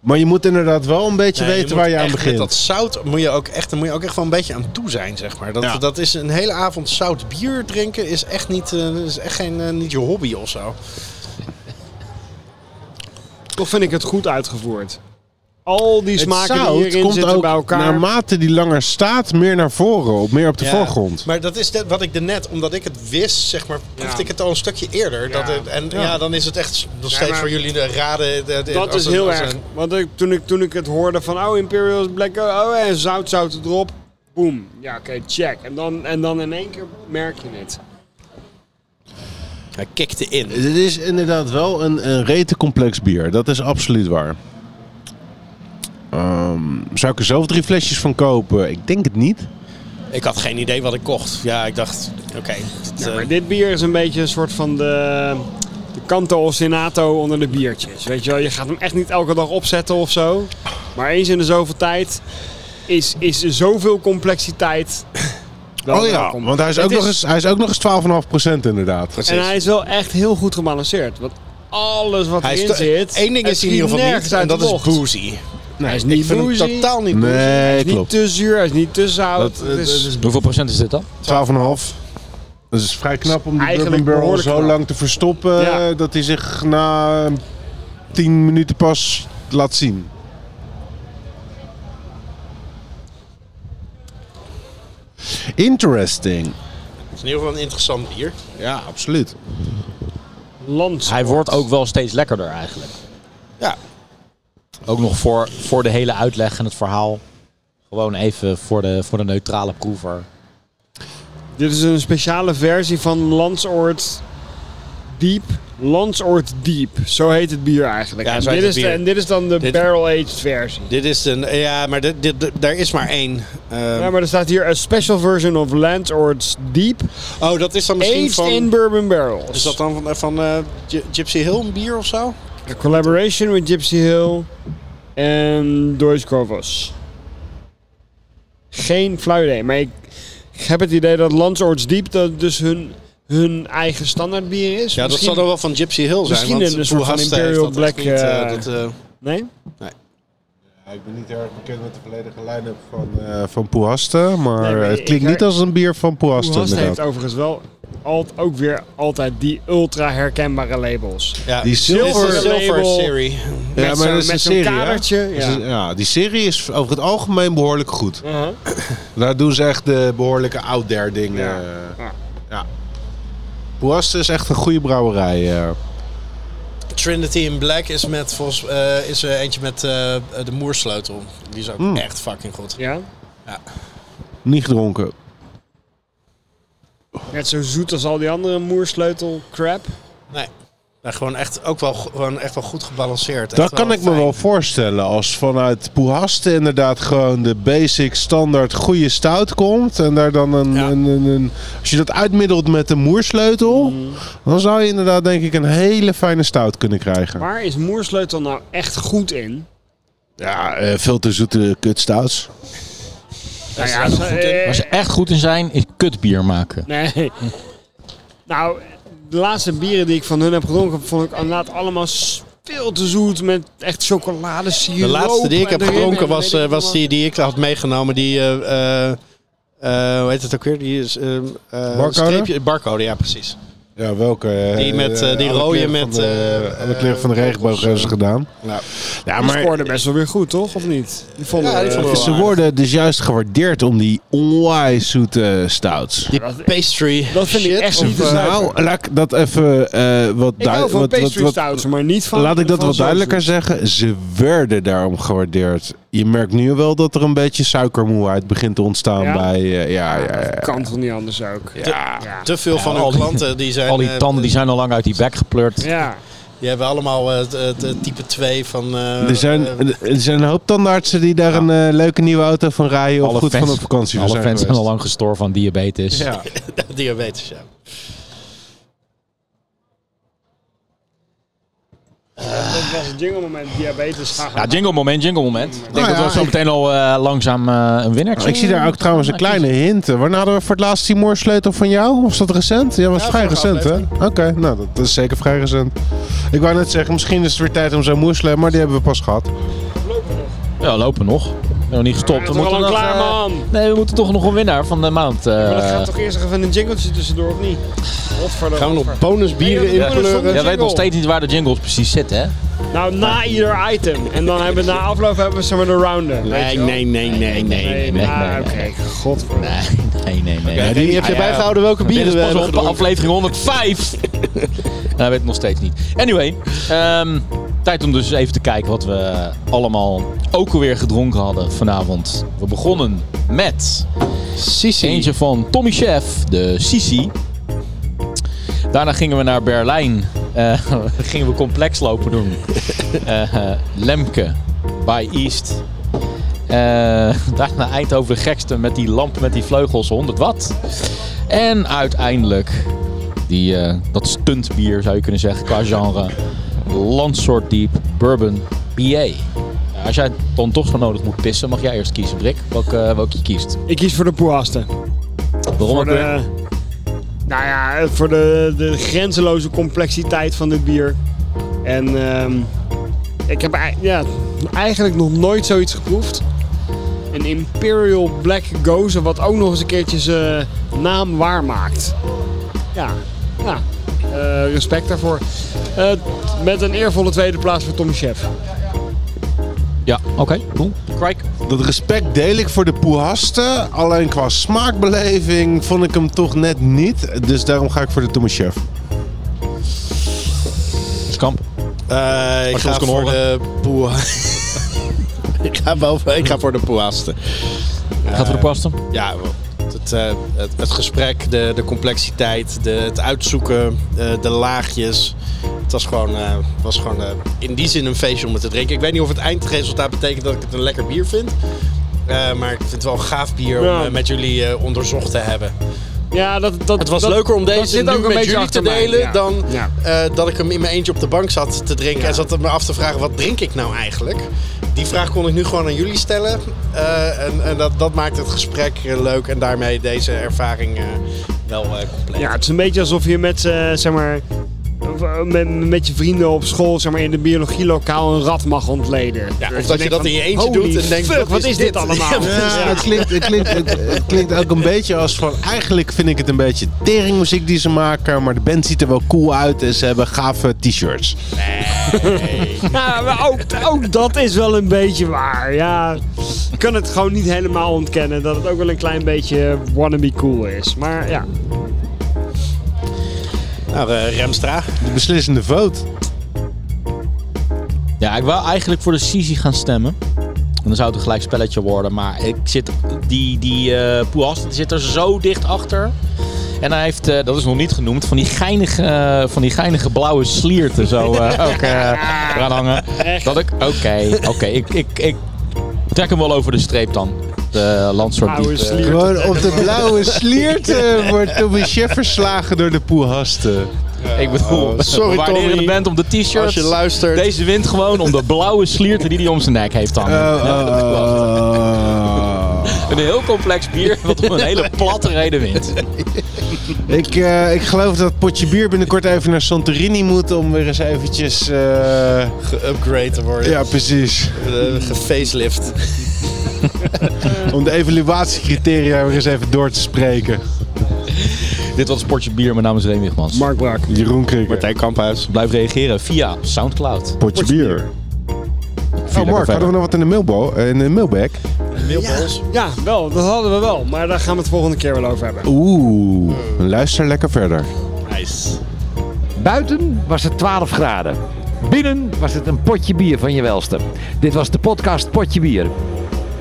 [SPEAKER 3] Maar je moet inderdaad wel een beetje
[SPEAKER 4] Nee,
[SPEAKER 3] weten
[SPEAKER 4] moet
[SPEAKER 3] waar je aan
[SPEAKER 4] echt
[SPEAKER 3] begint.
[SPEAKER 4] Met dat zout moet je ook echt, daar moet je ook echt wel een beetje aan toe zijn, zeg maar. Dat,
[SPEAKER 3] Ja.
[SPEAKER 4] dat is een hele avond zout bier drinken is echt niet, eh, is echt geen, eh, niet je hobby of zo.
[SPEAKER 2] Toch vind ik het goed uitgevoerd. Al die
[SPEAKER 3] Het
[SPEAKER 2] smaken die
[SPEAKER 3] zout
[SPEAKER 2] hierin
[SPEAKER 3] komt
[SPEAKER 2] zitten
[SPEAKER 3] ook
[SPEAKER 2] bij elkaar.
[SPEAKER 3] naarmate die langer staat, meer naar voren, op, meer op de
[SPEAKER 4] Ja,
[SPEAKER 3] voorgrond.
[SPEAKER 4] Maar dat is net wat ik er net, omdat ik het wist, zeg maar, proefde
[SPEAKER 2] Ja.
[SPEAKER 4] ik het al een stukje eerder.
[SPEAKER 2] Ja.
[SPEAKER 4] Dat het- en ja. dan is het echt nog steeds
[SPEAKER 2] maar
[SPEAKER 4] voor jullie de raden. de- de-
[SPEAKER 2] Dat
[SPEAKER 4] als
[SPEAKER 2] is
[SPEAKER 4] een-
[SPEAKER 2] heel
[SPEAKER 4] als
[SPEAKER 2] erg.
[SPEAKER 4] een-
[SPEAKER 2] Want ik, toen, ik, toen ik het hoorde van, oh, Imperial is Black Gold, oh, en zout, zout erop. Boom. Ja, oké, check. En dan, en dan in één keer merk je het.
[SPEAKER 4] Hij kikte in.
[SPEAKER 3] Dit is inderdaad wel een, een rete complex bier. Dat is absoluut waar. Ehm, zou ik er zelf drie flesjes van kopen? Ik denk het niet.
[SPEAKER 4] Ik had geen idee wat ik kocht. Ja, ik dacht, oké. dit, eh,
[SPEAKER 2] Maar dit bier is een beetje een soort van de, de Canto Ostinato onder de biertjes. Weet je wel, je gaat hem echt niet elke dag opzetten of zo. Maar eens in de zoveel tijd is, is er zoveel complexiteit. wel
[SPEAKER 3] Oh ja,
[SPEAKER 2] welkom.
[SPEAKER 3] want hij is,
[SPEAKER 2] Het
[SPEAKER 3] ook nog, eens, hij is ook nog eens 12,5% inderdaad.
[SPEAKER 4] precies.
[SPEAKER 2] En hij is wel echt heel goed gebalanceerd. Want alles wat
[SPEAKER 4] Hij is
[SPEAKER 2] erin
[SPEAKER 4] te-
[SPEAKER 2] zit.
[SPEAKER 4] Eén ding
[SPEAKER 2] het
[SPEAKER 4] is hij in ieder geval
[SPEAKER 2] nergens
[SPEAKER 4] niet,
[SPEAKER 2] uit
[SPEAKER 4] en
[SPEAKER 2] de
[SPEAKER 4] dat is
[SPEAKER 2] bocht.
[SPEAKER 4] boozy.
[SPEAKER 2] Hij is niet
[SPEAKER 4] ik vind hem
[SPEAKER 2] boozy.
[SPEAKER 4] totaal niet eh, boozy.
[SPEAKER 3] Nee,
[SPEAKER 2] Hij is niet
[SPEAKER 3] klopt. 12,5.
[SPEAKER 2] te zuur, hij is niet te zout.
[SPEAKER 3] Dat-
[SPEAKER 2] het is-
[SPEAKER 3] dat is
[SPEAKER 1] Hoeveel procent is dit dan?
[SPEAKER 3] Dat is vrij knap om die
[SPEAKER 2] Eigenlijk
[SPEAKER 3] Bourbon Barrel
[SPEAKER 2] behoorlijk
[SPEAKER 3] zo
[SPEAKER 2] knap.
[SPEAKER 3] lang te verstoppen eh,
[SPEAKER 2] Ja.
[SPEAKER 3] dat hij zich na 10 minuten pas laat zien. Interesting.
[SPEAKER 4] Het is in ieder geval een interessant bier.
[SPEAKER 3] Ja, absoluut.
[SPEAKER 2] land.
[SPEAKER 1] Hij wordt ook wel steeds lekkerder eigenlijk.
[SPEAKER 4] Ja,
[SPEAKER 1] Ook nog voor, voor de hele uitleg en het verhaal. Gewoon even voor de, voor de neutrale proever.
[SPEAKER 2] Dit is een speciale versie van Landsoord Diep. Landsoord Diep. Zo heet het bier eigenlijk.
[SPEAKER 4] Ja,
[SPEAKER 2] en,
[SPEAKER 4] zo
[SPEAKER 2] dit
[SPEAKER 4] heet
[SPEAKER 2] is
[SPEAKER 4] het
[SPEAKER 2] De,
[SPEAKER 4] bier.
[SPEAKER 2] en dit is dan de
[SPEAKER 4] Dit-
[SPEAKER 2] barrel-aged versie.
[SPEAKER 4] Dit is een. Ja, maar dit, dit, dit- daar is maar één. Ehm,
[SPEAKER 2] Ja, maar er staat hier a special version of Landsoord Deep.
[SPEAKER 4] oh, dat is dan misschien
[SPEAKER 2] Aged
[SPEAKER 4] van.
[SPEAKER 2] in bourbon barrels.
[SPEAKER 4] Is dat dan van, van eh, Gy- Gypsy Hill een bier of zo?
[SPEAKER 2] A collaboration with Gypsy Hill en Doris Corvos. Geen flauw idee, maar ik heb het idee dat Landsoorts Diep dat dus hun, hun eigen standaard bier is.
[SPEAKER 4] Ja, dat zal dan wel van Gypsy Hill zijn.
[SPEAKER 2] misschien
[SPEAKER 4] want
[SPEAKER 2] een soort van
[SPEAKER 4] Proehasta heeft
[SPEAKER 2] Imperial
[SPEAKER 4] dat echt
[SPEAKER 2] Black,
[SPEAKER 4] niet, eh,
[SPEAKER 2] eh,
[SPEAKER 4] dat, eh,
[SPEAKER 2] Nee?
[SPEAKER 3] Ik ben niet erg bekend met de volledige line-up van, eh van Poehaste, maar
[SPEAKER 2] Nee, maar
[SPEAKER 3] het
[SPEAKER 2] ik
[SPEAKER 3] klinkt
[SPEAKER 2] her-
[SPEAKER 3] niet als een bier van Poehaste
[SPEAKER 2] Oehast heeft
[SPEAKER 3] inderdaad.
[SPEAKER 2] overigens wel alt, ook weer altijd die ultra herkenbare labels.
[SPEAKER 4] ja.
[SPEAKER 3] Die
[SPEAKER 4] Dit is de
[SPEAKER 3] zilver...
[SPEAKER 2] zilver-
[SPEAKER 4] Silver
[SPEAKER 2] label.
[SPEAKER 4] Serie.
[SPEAKER 3] Ja,
[SPEAKER 2] met
[SPEAKER 3] maar
[SPEAKER 2] zo'n-
[SPEAKER 3] dat is
[SPEAKER 2] met
[SPEAKER 3] een
[SPEAKER 2] zo'n
[SPEAKER 3] serie, hè?
[SPEAKER 2] kadertje,
[SPEAKER 3] Dus,
[SPEAKER 2] ja.
[SPEAKER 3] eh, ja, die serie is over het algemeen behoorlijk goed.
[SPEAKER 2] Uh-huh.
[SPEAKER 3] Daar doen ze echt de behoorlijke out there dingen.
[SPEAKER 2] Ja.
[SPEAKER 3] eh.
[SPEAKER 2] Ja.
[SPEAKER 3] Ja. Boaste is echt een goede brouwerij. eh.
[SPEAKER 4] Trinity in Black is, met, volgens, eh, is er eentje met eh, de moersleutel. Die is ook
[SPEAKER 2] Hmm.
[SPEAKER 4] echt fucking goed.
[SPEAKER 2] Ja?
[SPEAKER 3] Niet gedronken.
[SPEAKER 2] Net zo zoet als al die andere moersleutel crap.
[SPEAKER 4] Nee. Maar gewoon echt ook wel, gewoon echt wel goed gebalanceerd. Echt
[SPEAKER 3] Dat kan ik me
[SPEAKER 4] fijn.
[SPEAKER 3] wel voorstellen. Als vanuit Poehaste inderdaad gewoon de basic standaard goede stout komt. En daar dan een,
[SPEAKER 4] Ja.
[SPEAKER 3] een, een, een- Als je dat uitmiddelt met de moersleutel.
[SPEAKER 2] Mhm.
[SPEAKER 3] Dan zou je inderdaad denk ik een hele fijne stout kunnen krijgen.
[SPEAKER 2] Waar is moersleutel nou echt goed in?
[SPEAKER 3] Ja, eh, veel te zoete kutstouts.
[SPEAKER 2] Nou
[SPEAKER 4] is er nog goed in?
[SPEAKER 2] eh,
[SPEAKER 1] Waar ze echt goed in zijn, is kutbier maken.
[SPEAKER 2] Nee. Nou, de laatste bieren die ik van hun heb gedronken, vond ik inderdaad allemaal s- veel te zoet met echt chocoladesiroop.
[SPEAKER 4] De laatste die ik heb
[SPEAKER 2] erin en
[SPEAKER 4] gedronken
[SPEAKER 2] weet
[SPEAKER 4] was,
[SPEAKER 2] ik
[SPEAKER 4] eh,
[SPEAKER 2] allemaal.
[SPEAKER 4] was die die ik had meegenomen. Die, eh, eh, eh, hoe heet het ook weer? Die is, eh, eh,
[SPEAKER 3] Barcode?
[SPEAKER 4] streepje- barcode, ja precies.
[SPEAKER 3] Ja, welke? eh,
[SPEAKER 4] Die met, eh,
[SPEAKER 3] eh,
[SPEAKER 4] die
[SPEAKER 3] alle
[SPEAKER 4] rode
[SPEAKER 3] kleuren
[SPEAKER 4] met,
[SPEAKER 3] van de-
[SPEAKER 4] eh,
[SPEAKER 3] alle kleuren van de
[SPEAKER 4] eh,
[SPEAKER 3] regenboog hebben ze gedaan. Ja,
[SPEAKER 2] Die scoorde best wel weer goed, toch? Of niet? Die vonden
[SPEAKER 4] Ja, die
[SPEAKER 2] eh,
[SPEAKER 4] vonden we wel.
[SPEAKER 3] Ze worden dus juist gewaardeerd om die onwijs zoete stouts.
[SPEAKER 4] Die pastry.
[SPEAKER 2] Dat vind ik
[SPEAKER 4] shit,
[SPEAKER 2] echt
[SPEAKER 4] of-
[SPEAKER 2] niet te
[SPEAKER 4] eh,
[SPEAKER 3] Nou, laat ik dat even eh, wat
[SPEAKER 2] Ik hou
[SPEAKER 3] duidelijker...
[SPEAKER 2] van
[SPEAKER 3] Wat, wat,
[SPEAKER 2] pastry
[SPEAKER 3] wat-
[SPEAKER 2] stouts, maar niet van...
[SPEAKER 3] laat ik dat
[SPEAKER 2] van
[SPEAKER 3] wat
[SPEAKER 2] zo
[SPEAKER 3] duidelijker
[SPEAKER 2] zoet.
[SPEAKER 3] zeggen. Ze werden daarom gewaardeerd. Je merkt nu wel dat er een beetje suikermoeheid begint te ontstaan
[SPEAKER 2] Ja?
[SPEAKER 3] bij... eh, ja, ja, ja.
[SPEAKER 2] Kan toch niet anders ook? Ja. Ja.
[SPEAKER 4] Te veel van
[SPEAKER 1] al
[SPEAKER 4] hun
[SPEAKER 1] die-
[SPEAKER 4] klanten die zijn.
[SPEAKER 1] Al die
[SPEAKER 4] eh,
[SPEAKER 1] tanden die zijn al lang uit die bek gepleurd.
[SPEAKER 4] Die hebben allemaal eh, het het, eh, type 2 van. eh,
[SPEAKER 3] Er zijn,
[SPEAKER 4] eh,
[SPEAKER 3] er zijn een hoop tandartsen die daar een eh, leuke nieuwe auto van rijden... of goed van op vakantie
[SPEAKER 1] alle
[SPEAKER 3] van zijn
[SPEAKER 1] fans zijn al
[SPEAKER 3] geweest.
[SPEAKER 1] lang gestorven aan diabetes.
[SPEAKER 3] Ja.
[SPEAKER 4] diabetes, ja.
[SPEAKER 2] dat was een jingle moment. Diabetes. Ga
[SPEAKER 1] Ja, jingle moment, jingle moment. Ik denk
[SPEAKER 3] Nou
[SPEAKER 1] dat
[SPEAKER 3] ja,
[SPEAKER 1] we zo
[SPEAKER 3] ik-
[SPEAKER 1] meteen al eh, langzaam eh, een winnaar
[SPEAKER 3] Nou,
[SPEAKER 1] Nou,
[SPEAKER 3] Ik zie daar ook trouwens een kleine hint. Wanneer hadden we voor het laatst die moorsleutel van jou? Was dat recent? Ja, was
[SPEAKER 2] Ja,
[SPEAKER 3] vrij
[SPEAKER 2] vorige
[SPEAKER 3] recent, hè? Oké,
[SPEAKER 2] aflevering.
[SPEAKER 3] nou, dat, dat is zeker vrij recent. Ik wou net zeggen, misschien is het weer tijd om zo'n moersleutel, maar die hebben we pas gehad.
[SPEAKER 1] Ja, lopen nog. We zijn nog niet gestopt.
[SPEAKER 2] Ja, we zijn al
[SPEAKER 1] nog,
[SPEAKER 2] lang klaar,
[SPEAKER 1] eh,
[SPEAKER 2] man.
[SPEAKER 1] Nee, we moeten toch nog een winnaar van de maand. eh,
[SPEAKER 2] Maar dat gaat toch eerst even een jingletje tussendoor, of niet? Godverdomme.
[SPEAKER 4] Gaan we nog
[SPEAKER 2] Nee,
[SPEAKER 4] bonusbieren
[SPEAKER 2] dat doen we
[SPEAKER 4] inkleuren?
[SPEAKER 2] zonder-
[SPEAKER 1] Jij weet
[SPEAKER 2] jingle.
[SPEAKER 1] nog steeds niet waar de jingles precies zitten, hè?
[SPEAKER 2] Nou, na ieder item. En dan hebben we na afloop hebben we zeg maar de rounder. weet
[SPEAKER 4] Nee,
[SPEAKER 2] je wel?
[SPEAKER 4] nee, nee, nee, nee.
[SPEAKER 2] Nee,
[SPEAKER 1] nee,
[SPEAKER 2] ah,
[SPEAKER 1] nee,
[SPEAKER 2] oké. Godverdomme.
[SPEAKER 1] Nee, nee, nee.
[SPEAKER 4] Ja, die heb je
[SPEAKER 1] Ja, ja.
[SPEAKER 4] bijgehouden welke
[SPEAKER 1] Dit
[SPEAKER 4] bieren
[SPEAKER 1] is
[SPEAKER 4] we
[SPEAKER 1] pas op
[SPEAKER 4] hebben
[SPEAKER 3] eh,
[SPEAKER 1] de
[SPEAKER 4] gedronken.
[SPEAKER 1] aflevering 105. nou, dat weet ik nog steeds niet. Anyway, ehm, tijd om dus even te kijken wat we allemaal ook alweer gedronken hadden vanavond. We begonnen met
[SPEAKER 4] Sissi.
[SPEAKER 1] eentje van Tommy Chef, de Sisi. Daarna gingen we naar Berlijn. Eh, gingen we complex lopen doen. Eh, eh, Lemke by East. Eh, daarna Eindhoven de gekste met die lamp met die vleugels 100 watt. En uiteindelijk die, eh, dat stuntbier zou je kunnen zeggen qua genre. Landsoort Deep Bourbon BA. Als jij dan toch zo nodig moet pissen, mag jij eerst kiezen, Brik. Welke, welke je kiest.
[SPEAKER 2] Ik kies voor de poerasten.
[SPEAKER 1] Waarom
[SPEAKER 2] Voor
[SPEAKER 1] ook weer?
[SPEAKER 2] de, nou ja, voor de, de grenzeloze complexiteit van dit bier. En ehm, ik heb ei- ja, eigenlijk nog nooit zoiets geproefd. Een Imperial Black Gozer, wat ook nog eens een keertje zijn eh, naam waarmaakt. Ja, ja eh, respect daarvoor. Eh, met een eervolle tweede plaats voor Tommy Chef.
[SPEAKER 1] Ja, oké, cool. Crike.
[SPEAKER 3] Dat respect deel ik voor de poehaste. Alleen qua smaakbeleving vond ik hem toch net niet. Dus daarom ga ik voor de Thomas Chef.
[SPEAKER 1] Skamp.
[SPEAKER 4] Eh, ik
[SPEAKER 1] Als je ons
[SPEAKER 4] ga
[SPEAKER 1] kan
[SPEAKER 4] voor
[SPEAKER 1] horen.
[SPEAKER 4] de poe. ik, ga wel, voor- ik ga voor de poeaste.
[SPEAKER 1] Gaat voor de pasta.
[SPEAKER 4] Ja, het, eh, het, het gesprek, de, de complexiteit, de, het uitzoeken, eh, de laagjes. Het was gewoon, eh, was gewoon eh, in die zin een feestje om het te drinken. Ik weet niet of het eindresultaat betekent dat ik het een lekker bier vind. Eh, maar ik vind het wel een gaaf bier om
[SPEAKER 2] Ja.
[SPEAKER 4] eh, met jullie eh, onderzocht te hebben.
[SPEAKER 2] Ja, dat, dat,
[SPEAKER 4] Het was
[SPEAKER 2] dat-
[SPEAKER 4] leuker om
[SPEAKER 2] dat
[SPEAKER 4] deze
[SPEAKER 2] zit
[SPEAKER 4] nu
[SPEAKER 2] ook een
[SPEAKER 4] met
[SPEAKER 2] beetje
[SPEAKER 4] jullie te
[SPEAKER 2] achter mij,
[SPEAKER 4] delen
[SPEAKER 2] ja.
[SPEAKER 4] dan
[SPEAKER 2] Ja.
[SPEAKER 4] eh, dat ik hem in mijn eentje op de bank zat te drinken. En zat me af te vragen, wat drink ik nou eigenlijk? Die vraag kon ik nu gewoon aan jullie stellen. Eh, en en dat, dat maakt het gesprek eh, leuk en daarmee deze ervaring eh, wel eh, compleet.
[SPEAKER 2] Ja, het is een beetje alsof je met, eh, zeg maar, met, met je vrienden op school zeg maar, in de biologielokaal een rat mag ontleden.
[SPEAKER 4] Ja,
[SPEAKER 2] Dus
[SPEAKER 4] of dat je
[SPEAKER 2] denkt
[SPEAKER 4] dat in je eentje
[SPEAKER 2] holy
[SPEAKER 4] doet en denkt,
[SPEAKER 2] fuck,
[SPEAKER 4] wat
[SPEAKER 2] wat
[SPEAKER 4] is
[SPEAKER 2] is dit
[SPEAKER 4] dit?
[SPEAKER 2] allemaal?
[SPEAKER 4] Ja,
[SPEAKER 3] Ja, het klinkt, het, klinkt, het, het klinkt ook een beetje als van... Eigenlijk vind ik het een beetje teringmuziek die ze maken. Maar de band ziet er wel cool uit. En ze hebben gave t-shirts.
[SPEAKER 2] Ja, maar ook, ook dat is wel een beetje waar. Ja, ik kan het gewoon niet helemaal ontkennen dat het ook wel een klein beetje wannabe cool is. Maar ja,
[SPEAKER 4] Nou, eh, Remstra.
[SPEAKER 3] De beslissende vote.
[SPEAKER 1] Ja, ik wou eigenlijk voor de Sisi gaan stemmen. En dan zou het een gelijk spelletje worden. Maar ik zit, die, die eh Poehast die zit er zo dicht achter. En hij heeft, eh, dat is nog niet genoemd, van die geinige, eh, van die geinige blauwe slierten zo eh, ook eh eraan hangen. Dat ik, oké, oké. ik, ik, ik trek hem wel over de streep dan. De landsoort
[SPEAKER 2] oude
[SPEAKER 1] diep, eh,
[SPEAKER 2] slier.
[SPEAKER 3] Gewoon op de blauwe sliert eh, wordt Tommy Chef verslagen door de poehasten.
[SPEAKER 1] Ik bedoel,
[SPEAKER 4] Oh, sorry,
[SPEAKER 1] we waarderen
[SPEAKER 4] Tommy.
[SPEAKER 1] de band om de t-shirts.
[SPEAKER 4] Als je luistert.
[SPEAKER 1] Deze wint gewoon om de blauwe slierten die hij om zijn nek heeft hangen.
[SPEAKER 3] Oh,
[SPEAKER 1] Ja, dat klopt.
[SPEAKER 3] oh.
[SPEAKER 1] Een heel complex bier wat om een hele platte reden wint.
[SPEAKER 3] Ik, eh, ik geloof dat potje bier binnenkort even naar Santorini moet om weer eens eventjes... eh,
[SPEAKER 4] Geupgrade te worden.
[SPEAKER 3] ja, precies.
[SPEAKER 4] Eh, gefacelift.
[SPEAKER 3] Om de evaluatiecriteria weer eens even door te spreken.
[SPEAKER 1] Dit was Sportje Bier, mijn naam is Remy Wigmans.
[SPEAKER 2] Mark Brak.
[SPEAKER 3] Jeroen Krikker.
[SPEAKER 4] Kamphuis.
[SPEAKER 1] Blijf reageren via Soundcloud.
[SPEAKER 3] Potje bier. Oh, Mark, hadden we nog wat in de, mailbo- in de mailbag?
[SPEAKER 4] Mailbox.
[SPEAKER 2] Ja, wel, dat hadden we wel. Maar daar gaan we het volgende keer wel over hebben.
[SPEAKER 3] Oeh, luister lekker verder.
[SPEAKER 4] Nice.
[SPEAKER 7] Buiten was het 12 graden. Binnen was het een potje bier van je welste. Dit was de podcast Potje Bier.